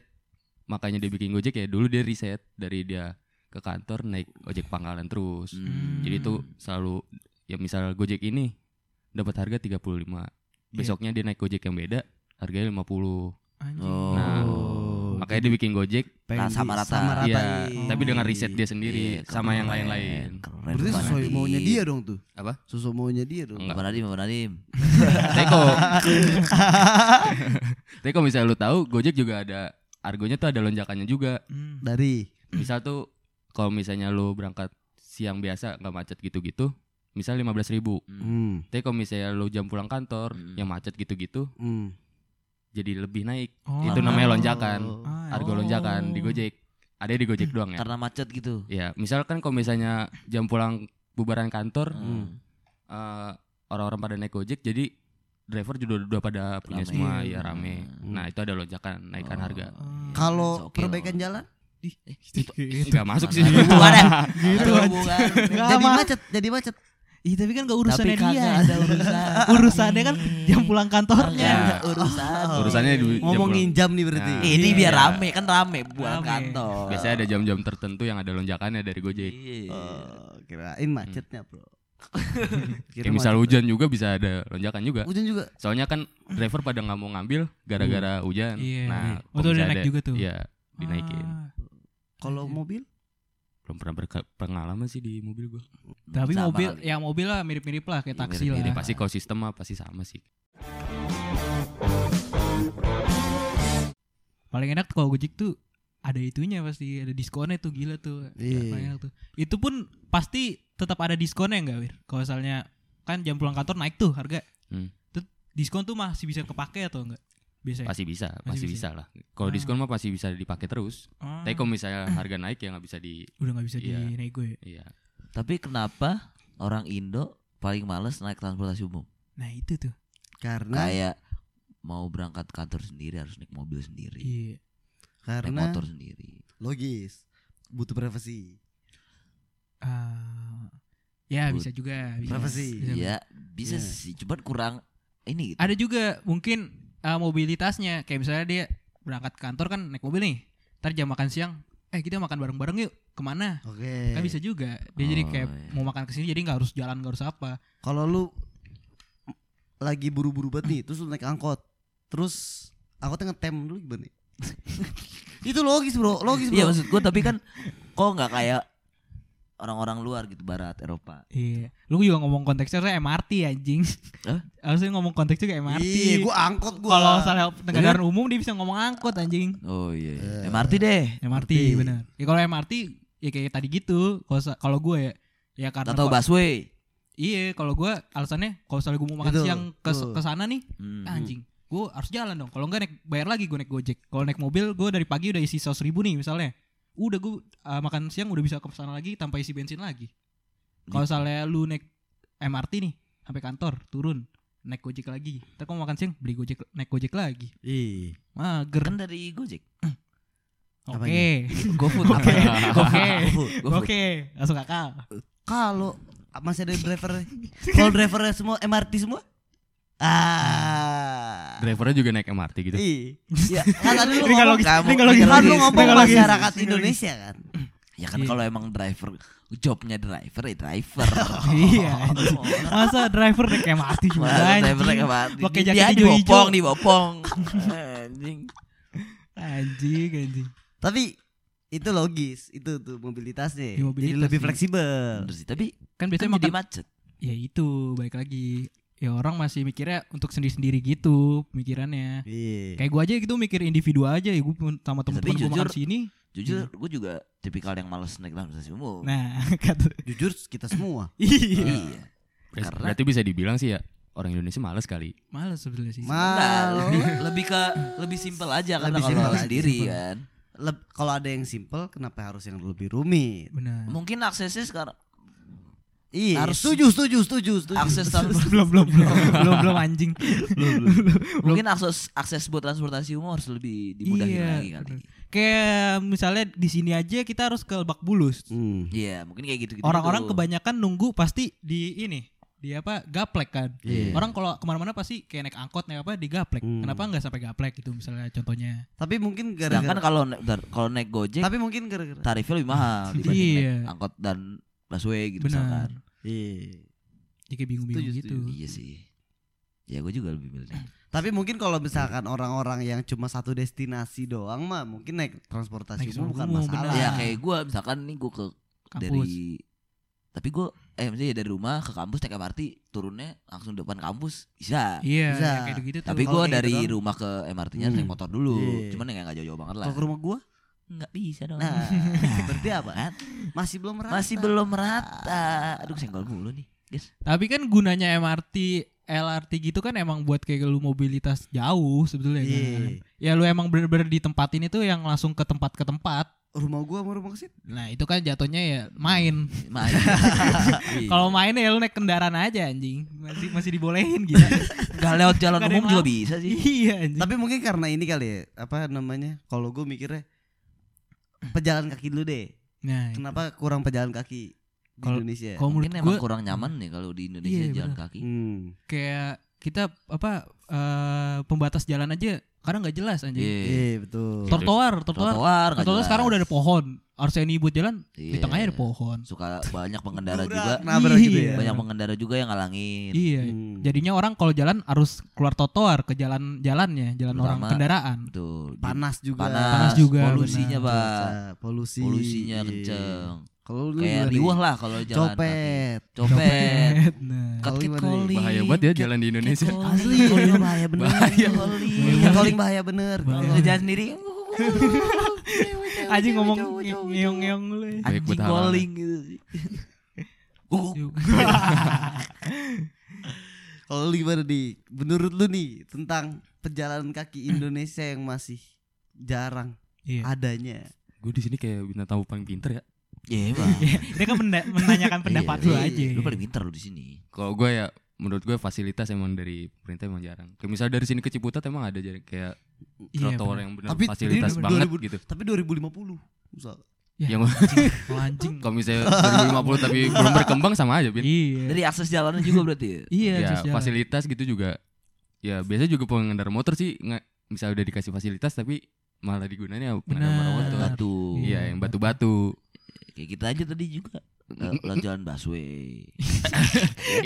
[SPEAKER 4] makanya dia bikin Gojek ya dulu dia riset dari dia ke kantor naik ojek pangkalan terus
[SPEAKER 1] Hmm.
[SPEAKER 4] jadi itu selalu ya misal Gojek ini dapat harga 35
[SPEAKER 3] Iya.
[SPEAKER 4] besoknya dia naik Gojek yang beda harganya 50
[SPEAKER 1] Anjing.
[SPEAKER 3] Oh.
[SPEAKER 4] Nah, makanya dia bikin Gojek
[SPEAKER 2] Pengen
[SPEAKER 3] Nah, sama
[SPEAKER 2] di-
[SPEAKER 3] rata.
[SPEAKER 2] Sama
[SPEAKER 4] ya
[SPEAKER 2] ini.
[SPEAKER 4] tapi dengan riset dia sendiri
[SPEAKER 3] Iya,
[SPEAKER 4] sama yang
[SPEAKER 3] keren.
[SPEAKER 4] lain-lain
[SPEAKER 3] Keren.
[SPEAKER 2] Berarti
[SPEAKER 3] Pak
[SPEAKER 2] sesuai
[SPEAKER 3] Nadiem.
[SPEAKER 2] maunya dia dong tuh.
[SPEAKER 4] Apa?
[SPEAKER 2] Sesuai maunya dia dong.
[SPEAKER 4] Enggak.
[SPEAKER 3] Pak Nadiem, Pak Nadiem.
[SPEAKER 4] Teko tapi kalau misalnya lu tahu Gojek juga ada argonya tuh ada lonjakannya juga
[SPEAKER 1] Hmm.
[SPEAKER 2] Dari
[SPEAKER 4] misal tuh kalau misalnya lu berangkat siang biasa nggak macet gitu-gitu misal 15.000 ribu
[SPEAKER 2] hmm.
[SPEAKER 4] tapi kalau misalnya lu jam pulang kantor
[SPEAKER 3] Hmm.
[SPEAKER 4] yang macet gitu-gitu
[SPEAKER 2] Hmm.
[SPEAKER 4] jadi lebih naik
[SPEAKER 1] Oh.
[SPEAKER 4] itu namanya lonjakan
[SPEAKER 1] Ah,
[SPEAKER 4] harga
[SPEAKER 1] oh.
[SPEAKER 4] lonjakan di Gojek ada di Gojek doang ya
[SPEAKER 3] Karena macet gitu.
[SPEAKER 4] ya misalkan kalau misalnya jam pulang bubaran kantor
[SPEAKER 3] Hmm.
[SPEAKER 4] eh, orang-orang pada naik Gojek jadi driver juga udah pada punya
[SPEAKER 3] Rame.
[SPEAKER 4] semua
[SPEAKER 3] Iya.
[SPEAKER 4] ya rame.
[SPEAKER 1] Hmm.
[SPEAKER 4] Nah, itu ada lonjakan
[SPEAKER 1] Oh.
[SPEAKER 4] naikan
[SPEAKER 3] Oh.
[SPEAKER 4] harga.
[SPEAKER 2] Kalau
[SPEAKER 3] It's okay
[SPEAKER 2] perbaikan jalan
[SPEAKER 1] eh,
[SPEAKER 4] Enggak masuk sih.
[SPEAKER 3] Hubungan
[SPEAKER 1] Gitu aja.
[SPEAKER 2] jadi
[SPEAKER 1] Mas.
[SPEAKER 2] macet, jadi macet.
[SPEAKER 1] Ih, tapi kan gak
[SPEAKER 3] Tapi
[SPEAKER 1] urusannya dia.
[SPEAKER 3] kagak ada urusan Iya.
[SPEAKER 1] urusannya kan
[SPEAKER 4] iya.
[SPEAKER 1] jam pulang
[SPEAKER 3] Kagak
[SPEAKER 1] kantornya.
[SPEAKER 3] ada urusan
[SPEAKER 4] Urusannya di jam
[SPEAKER 2] Ngomongin jam nih berarti.
[SPEAKER 4] Nah.
[SPEAKER 3] Ini
[SPEAKER 4] Iya.
[SPEAKER 3] biar rame kan rame buat
[SPEAKER 1] Rame.
[SPEAKER 4] pulang.
[SPEAKER 3] kantor
[SPEAKER 4] Biasanya ada jam-jam tertentu yang ada lonjakannya dari Gojek.
[SPEAKER 3] Iya.
[SPEAKER 2] Oh, kirain macetnya,
[SPEAKER 1] Iya,
[SPEAKER 2] Bro. Kirain
[SPEAKER 4] Kayak
[SPEAKER 1] gitu.
[SPEAKER 4] misal
[SPEAKER 2] macet.
[SPEAKER 4] hujan juga bisa ada lonjakan juga.
[SPEAKER 2] Hujan juga.
[SPEAKER 4] Soalnya kan driver pada nggak mau ngambil gara-gara hujan.
[SPEAKER 1] Iya.
[SPEAKER 4] Nah,
[SPEAKER 1] Iya.
[SPEAKER 4] kalau
[SPEAKER 1] Atau
[SPEAKER 4] bisa
[SPEAKER 1] dia naik
[SPEAKER 4] ada-
[SPEAKER 1] juga tuh.
[SPEAKER 4] Iya, dinaikin.
[SPEAKER 1] Ah,
[SPEAKER 2] Kalau mobil
[SPEAKER 4] Belum pernah berpengalaman sih di mobil gua.
[SPEAKER 1] tapi
[SPEAKER 3] Sama
[SPEAKER 1] mobil,
[SPEAKER 3] kali.
[SPEAKER 1] ya mobil lah mirip-mirip lah kayak
[SPEAKER 3] Iya,
[SPEAKER 1] taksi
[SPEAKER 4] Jadi
[SPEAKER 1] lah.
[SPEAKER 4] pasti kalau sistem mah pasti sama sih.
[SPEAKER 1] Paling enak tuh kalau Gojek tuh ada itunya pasti ada diskonnya tuh gila tuh.
[SPEAKER 2] Iya.
[SPEAKER 1] Paling enak tuh. Itu pun pasti tetap ada diskonnya enggak, Wir? Kalau misalnya kan jam pulang kantor naik tuh harga.
[SPEAKER 4] Hmm.
[SPEAKER 1] Tuh, diskon tuh masih bisa kepake atau enggak? Biasanya.
[SPEAKER 4] Pasti bisa,
[SPEAKER 1] Masih
[SPEAKER 4] pasti
[SPEAKER 1] Iya. bisa.
[SPEAKER 4] bisa lah. Kalau
[SPEAKER 1] Ah.
[SPEAKER 4] diskon mah pasti bisa dipakai terus.
[SPEAKER 1] Ah,
[SPEAKER 4] Tapi kalau misalnya harga naik ya nggak bisa di
[SPEAKER 1] udah nggak bisa
[SPEAKER 4] Iya.
[SPEAKER 1] dinego ya.
[SPEAKER 4] iya.
[SPEAKER 3] Tapi kenapa orang Indo paling males naik transportasi umum?
[SPEAKER 1] Nah, itu tuh.
[SPEAKER 2] karena
[SPEAKER 3] Kayak mau berangkat kantor sendiri harus naik mobil sendiri,
[SPEAKER 1] Iya.
[SPEAKER 3] naik
[SPEAKER 2] karena
[SPEAKER 3] motor sendiri.
[SPEAKER 2] logis. Butuh privasi.
[SPEAKER 1] Ah, ya
[SPEAKER 3] Good.
[SPEAKER 1] bisa juga. Bisa.
[SPEAKER 2] Berapa sih?
[SPEAKER 1] Bisa, bisa.
[SPEAKER 3] Iya, bisa
[SPEAKER 2] Iya.
[SPEAKER 3] sih, cuman kurang ini gitu.
[SPEAKER 1] Ada juga mungkin eh, mobilitasnya kayak misalnya dia berangkat ke kantor kan naik mobil nih. Ntar jam makan siang, eh kita makan bareng-bareng yuk. Kemana?
[SPEAKER 2] Oke.
[SPEAKER 1] Kan bisa juga. Dia jadi
[SPEAKER 3] Iya. Oh,
[SPEAKER 1] kayak
[SPEAKER 3] iya.
[SPEAKER 1] mau makan kesini jadi nggak harus jalan nggak harus apa.
[SPEAKER 2] Kalau lu lagi buru-buru banget nih, terus lu naik angkot. Terus angkotnya ngetem dulu gimana? Itu logis, Bro. Logis,
[SPEAKER 3] Iya
[SPEAKER 2] Bro.
[SPEAKER 3] maksud gue tapi kan kok nggak kayak orang-orang luar gitu barat Eropa.
[SPEAKER 1] Iya. Lu juga ngomong konteksnya harusnya MRT anjing.
[SPEAKER 3] Hah?
[SPEAKER 1] Harusnya ngomong konteksnya kayak MRT.
[SPEAKER 2] Iya, gua angkot gua.
[SPEAKER 1] Kalau misalnya negara umum dia bisa ngomong angkot anjing.
[SPEAKER 3] Oh
[SPEAKER 2] Eh.
[SPEAKER 3] iya. MRT deh.
[SPEAKER 1] MRT
[SPEAKER 2] MRT.
[SPEAKER 1] benar. Ya kalau MRT ya kayak tadi gitu. Kalau sa- Kalau gue ya ya karena
[SPEAKER 3] Atau
[SPEAKER 1] ko-
[SPEAKER 3] busway.
[SPEAKER 1] iya kalau gue alasannya kalau misalnya gue mau makan
[SPEAKER 2] Itu,
[SPEAKER 1] siang ke
[SPEAKER 2] tuh.
[SPEAKER 1] ke sana nih
[SPEAKER 3] Hmm.
[SPEAKER 1] anjing gue harus jalan dong kalau enggak naik bayar lagi gue naik gojek kalau naik mobil gue dari pagi udah isi saus ribu nih misalnya udah gue uh, makan siang udah bisa ke sana lagi tanpa isi bensin lagi kalau
[SPEAKER 3] Gitu.
[SPEAKER 1] misalnya lu naik MRT nih sampai kantor turun naik gojek lagi ntar kalau makan siang beli gojek naik gojek lagi
[SPEAKER 2] Iya.
[SPEAKER 1] mager
[SPEAKER 3] Kan dari Gojek.
[SPEAKER 1] oke
[SPEAKER 2] apanya?
[SPEAKER 3] GoFood.
[SPEAKER 1] Oke.
[SPEAKER 3] Oke.
[SPEAKER 1] oke langsung kakak
[SPEAKER 2] Kalau masih ada driver Kalau drivernya semua MRT semua? Ah.
[SPEAKER 4] Drivernya juga naik MRT gitu.
[SPEAKER 2] Iya.
[SPEAKER 3] Ya,
[SPEAKER 2] Kan tadi lu
[SPEAKER 1] Ini nggak
[SPEAKER 2] ngomong
[SPEAKER 1] logis,
[SPEAKER 2] kamu,
[SPEAKER 1] ini nggak logis,
[SPEAKER 2] kan lu
[SPEAKER 1] ini
[SPEAKER 2] ngomong
[SPEAKER 1] nggak logis.
[SPEAKER 2] masyarakat Indonesia kan.
[SPEAKER 3] ya kan
[SPEAKER 1] Iya.
[SPEAKER 3] kalau emang driver jobnya driver ya driver. Oh.
[SPEAKER 1] Iya, anjing. Masa driver naik MRT juga
[SPEAKER 3] Masa driver
[SPEAKER 1] anjing.
[SPEAKER 3] kayak mati.
[SPEAKER 1] Pakai
[SPEAKER 3] Dia
[SPEAKER 1] jaket
[SPEAKER 3] dibopong,
[SPEAKER 1] hijau-hijau.
[SPEAKER 3] dibopong. Anjing.
[SPEAKER 1] Anjing, anjing.
[SPEAKER 2] Tapi itu logis, itu tuh
[SPEAKER 1] Di
[SPEAKER 2] mobilitasnya.
[SPEAKER 1] Iya, mobilitas
[SPEAKER 2] Jadi lebih
[SPEAKER 1] sih.
[SPEAKER 2] fleksibel.
[SPEAKER 3] Bener sih, tapi
[SPEAKER 1] Kan
[SPEAKER 3] kan
[SPEAKER 1] biasanya
[SPEAKER 3] jadi
[SPEAKER 1] makan
[SPEAKER 3] macet.
[SPEAKER 1] ya itu balik lagi. Ya orang masih mikirnya untuk sendiri-sendiri gitu pemikirannya.
[SPEAKER 2] Iya.
[SPEAKER 1] Kayak gua aja gitu mikir individu aja ya gue sama temen-temen
[SPEAKER 3] tapi
[SPEAKER 1] gue makan
[SPEAKER 3] jujur-
[SPEAKER 1] sini.
[SPEAKER 3] Jujur gue juga tipikal yang males naik transportasi umum.
[SPEAKER 1] Iya. Nah, kata
[SPEAKER 2] Jujur kita semua.
[SPEAKER 1] iya.
[SPEAKER 2] Ah.
[SPEAKER 3] Iya.
[SPEAKER 4] Berarti, Eh,
[SPEAKER 3] Karena-
[SPEAKER 4] berarti bisa dibilang sih ya orang Indonesia males kali.
[SPEAKER 1] Males sebetulnya sih.
[SPEAKER 3] Enggak,
[SPEAKER 2] Mal.
[SPEAKER 3] lebih, lebih ke lebih simpel aja karena
[SPEAKER 2] Lebih
[SPEAKER 3] kalau
[SPEAKER 2] simpel
[SPEAKER 3] orang
[SPEAKER 2] aja,
[SPEAKER 3] sendiri
[SPEAKER 2] simpel.
[SPEAKER 3] kan.
[SPEAKER 2] Leb- kalau ada yang simple kenapa harus yang lebih rumit?
[SPEAKER 1] Benar.
[SPEAKER 3] Mungkin aksesnya sekarang
[SPEAKER 2] Iya.
[SPEAKER 3] Harus-
[SPEAKER 2] setuju, setuju, setuju, setuju.
[SPEAKER 3] akses trans-
[SPEAKER 1] belum belum belum belum belum anjing.
[SPEAKER 3] mungkin akses akses buat transportasi umum harus lebih dimudahin
[SPEAKER 1] Iya,
[SPEAKER 3] lagi kali.
[SPEAKER 1] bener. Kayak misalnya di sini aja kita harus ke Lebak Bulus.
[SPEAKER 2] Hmm.
[SPEAKER 3] Iya, mungkin kayak gitu-gitu.
[SPEAKER 1] Orang-orang
[SPEAKER 3] gitu.
[SPEAKER 1] kebanyakan nunggu pasti di ini, di apa? Gaplek kan.
[SPEAKER 2] Iya.
[SPEAKER 1] Orang kalau kemana-mana pasti kayak naik angkot naik apa di gaplek.
[SPEAKER 2] Hmm.
[SPEAKER 1] Kenapa nggak sampai gaplek gitu misalnya contohnya?
[SPEAKER 2] Tapi mungkin
[SPEAKER 3] sedangkan
[SPEAKER 2] gara-gara
[SPEAKER 3] kalau na- bentar, kalau naik Gojek
[SPEAKER 2] Tapi mungkin gara-gara
[SPEAKER 3] tarifnya lebih mahal dibanding
[SPEAKER 1] Iya.
[SPEAKER 3] naik angkot dan busway gitu
[SPEAKER 1] Benar.
[SPEAKER 3] misalkan.
[SPEAKER 2] Iya.
[SPEAKER 1] Jadi kayak bingung-bingung
[SPEAKER 2] Setuju,
[SPEAKER 1] gitu.
[SPEAKER 3] Iya sih. Ya gue juga lebih milih. naik.
[SPEAKER 2] Tapi mungkin kalau misalkan orang-orang yang cuma satu destinasi doang mah mungkin naik transportasi
[SPEAKER 1] Naik
[SPEAKER 2] umum bukan
[SPEAKER 1] umum,
[SPEAKER 2] masalah.
[SPEAKER 1] benar.
[SPEAKER 3] Ya kayak gue misalkan nih gue ke
[SPEAKER 1] Kampus.
[SPEAKER 3] dari tapi gue eh maksudnya dari rumah ke kampus naik MRT turunnya langsung depan kampus bisa.
[SPEAKER 1] Iya,
[SPEAKER 2] Bisa.
[SPEAKER 1] ya kayak gitu tuh.
[SPEAKER 3] Tapi
[SPEAKER 2] Kalau
[SPEAKER 3] gue
[SPEAKER 2] kayak
[SPEAKER 3] dari
[SPEAKER 2] gitu kan-
[SPEAKER 3] rumah ke MRT-nya naik
[SPEAKER 2] Hmm.
[SPEAKER 3] motor dulu.
[SPEAKER 2] Iya.
[SPEAKER 3] Cuman ya nggak jauh-jauh banget lah.
[SPEAKER 2] Kalau ke rumah gua,
[SPEAKER 3] Nggak bisa dong.
[SPEAKER 2] nah, berarti apa? Masih belum merata.
[SPEAKER 3] Masih belum rata. Aduh senggol mulu nih. Guys.
[SPEAKER 1] Tapi kan gunanya MRT, LRT gitu kan emang buat kayak lu mobilitas jauh sebetulnya kan.
[SPEAKER 2] Iya.
[SPEAKER 1] Ya lu emang bener-bener ditempatin itu yang langsung ke tempat ke tempat.
[SPEAKER 2] rumah gua sama rumah kesit
[SPEAKER 1] Nah itu kan jatuhnya ya main.
[SPEAKER 3] Main. Iya.
[SPEAKER 1] Kalau main ya lu naik kendaraan aja anjing. Masih masih dibolehin gitu.
[SPEAKER 3] Gak lewat jalan
[SPEAKER 1] Nggak ada
[SPEAKER 3] umum
[SPEAKER 1] yang
[SPEAKER 3] juga
[SPEAKER 1] lama.
[SPEAKER 3] bisa sih.
[SPEAKER 1] iya anjing.
[SPEAKER 2] tapi mungkin karena ini kali ya apa namanya kalau gua mikirnya pejalan kaki dulu deh
[SPEAKER 1] Nah,
[SPEAKER 2] kenapa kurang pejalan kaki di
[SPEAKER 1] Kalau- kalau
[SPEAKER 2] Indonesia
[SPEAKER 3] ya? Mungkin
[SPEAKER 1] menurut
[SPEAKER 3] emang
[SPEAKER 1] gue
[SPEAKER 3] kurang nyaman nih kalau di Indonesia
[SPEAKER 1] Iya,
[SPEAKER 3] jalan
[SPEAKER 1] bener.
[SPEAKER 3] kaki.
[SPEAKER 2] hmm.
[SPEAKER 1] kayak kita apa eh, pembatas jalan aja kadang nggak jelas anjing.
[SPEAKER 3] Iya.
[SPEAKER 2] iya betul
[SPEAKER 1] Trotoar, trotoar.
[SPEAKER 3] Trotoar nggak
[SPEAKER 1] Trotoar
[SPEAKER 3] jelas.
[SPEAKER 1] sekarang udah ada pohon. Harusnya ini buat jalan di
[SPEAKER 3] Iya.
[SPEAKER 1] tengahnya ada pohon.
[SPEAKER 3] Suka banyak pengendara
[SPEAKER 2] Durak,
[SPEAKER 3] juga.
[SPEAKER 2] nabrak gitu ya.
[SPEAKER 3] Banyak pengendara juga yang ngalangin.
[SPEAKER 1] Iya.
[SPEAKER 2] Hmm.
[SPEAKER 1] Jadinya orang kalau jalan harus keluar trotoar ke jalan-jalannya, jalan orang
[SPEAKER 3] Terutama-
[SPEAKER 1] kendaraan.
[SPEAKER 3] Betul. Di-
[SPEAKER 2] panas juga
[SPEAKER 3] Panas,
[SPEAKER 1] Panas juga,
[SPEAKER 3] Polusinya, Pak.
[SPEAKER 2] Cuaca, polusi
[SPEAKER 3] Polusinya
[SPEAKER 2] Iya.
[SPEAKER 3] kenceng.
[SPEAKER 2] kalau lu
[SPEAKER 3] Kayak
[SPEAKER 2] gimana nih?
[SPEAKER 3] riuh lah kalau jalan
[SPEAKER 2] copet
[SPEAKER 3] kaki. Copet.
[SPEAKER 1] Nah.
[SPEAKER 2] Kalau
[SPEAKER 3] Cut-cut
[SPEAKER 2] gimana nih?
[SPEAKER 3] calling.
[SPEAKER 4] Bahaya banget ya jalan di Indonesia.
[SPEAKER 2] asli calling Iya, bahaya bener
[SPEAKER 1] Iya,
[SPEAKER 2] calling calling bahaya bener
[SPEAKER 3] Jalan sendiri.
[SPEAKER 1] Aji ngomong ngeong-ngeong lu. ya.
[SPEAKER 4] Baik buat
[SPEAKER 3] Anjing
[SPEAKER 4] halangan.
[SPEAKER 3] calling gitu. Guguk.
[SPEAKER 2] kalau lu gimana nih menurut lu nih tentang pejalan kaki Indonesia yang masih jarang
[SPEAKER 1] Iya.
[SPEAKER 2] adanya
[SPEAKER 4] Gue di sini kayak bintang tamu paling pinter ya.
[SPEAKER 3] Iya, Bang.
[SPEAKER 1] Dia kan menda- menanyakan pendapat lu
[SPEAKER 3] Iya,
[SPEAKER 1] aja.
[SPEAKER 3] Lu paling pintar lu di sini.
[SPEAKER 4] Kalau gue ya menurut gue fasilitas emang dari pemerintah emang jarang. Kayak misalnya dari sini ke Ciputat emang ada jadi kayak
[SPEAKER 1] Iya, bener.
[SPEAKER 4] trotoar yang benar
[SPEAKER 2] Tapi
[SPEAKER 4] fasilitas
[SPEAKER 2] ini
[SPEAKER 4] banget
[SPEAKER 2] 2000
[SPEAKER 4] gitu.
[SPEAKER 2] tapi 2050 misal
[SPEAKER 1] Ya,
[SPEAKER 4] Yang
[SPEAKER 1] Kalau anjing.
[SPEAKER 4] kalau misalnya 2050 tapi belum berkembang sama aja, Bin.
[SPEAKER 1] Iya.
[SPEAKER 3] Dari akses jalannya juga berarti. ya?
[SPEAKER 1] Iya,
[SPEAKER 4] ya,
[SPEAKER 1] sosial.
[SPEAKER 4] fasilitas gitu juga. Ya biasa juga pengendara motor sih nggak misalnya udah dikasih fasilitas tapi malah digunainnya pengendara
[SPEAKER 1] Benar.
[SPEAKER 4] motor.
[SPEAKER 3] Batu.
[SPEAKER 1] Iya.
[SPEAKER 4] Iya, yang batu-batu.
[SPEAKER 3] Kayak kita aja tadi juga. Eh, Lewat jalan busway.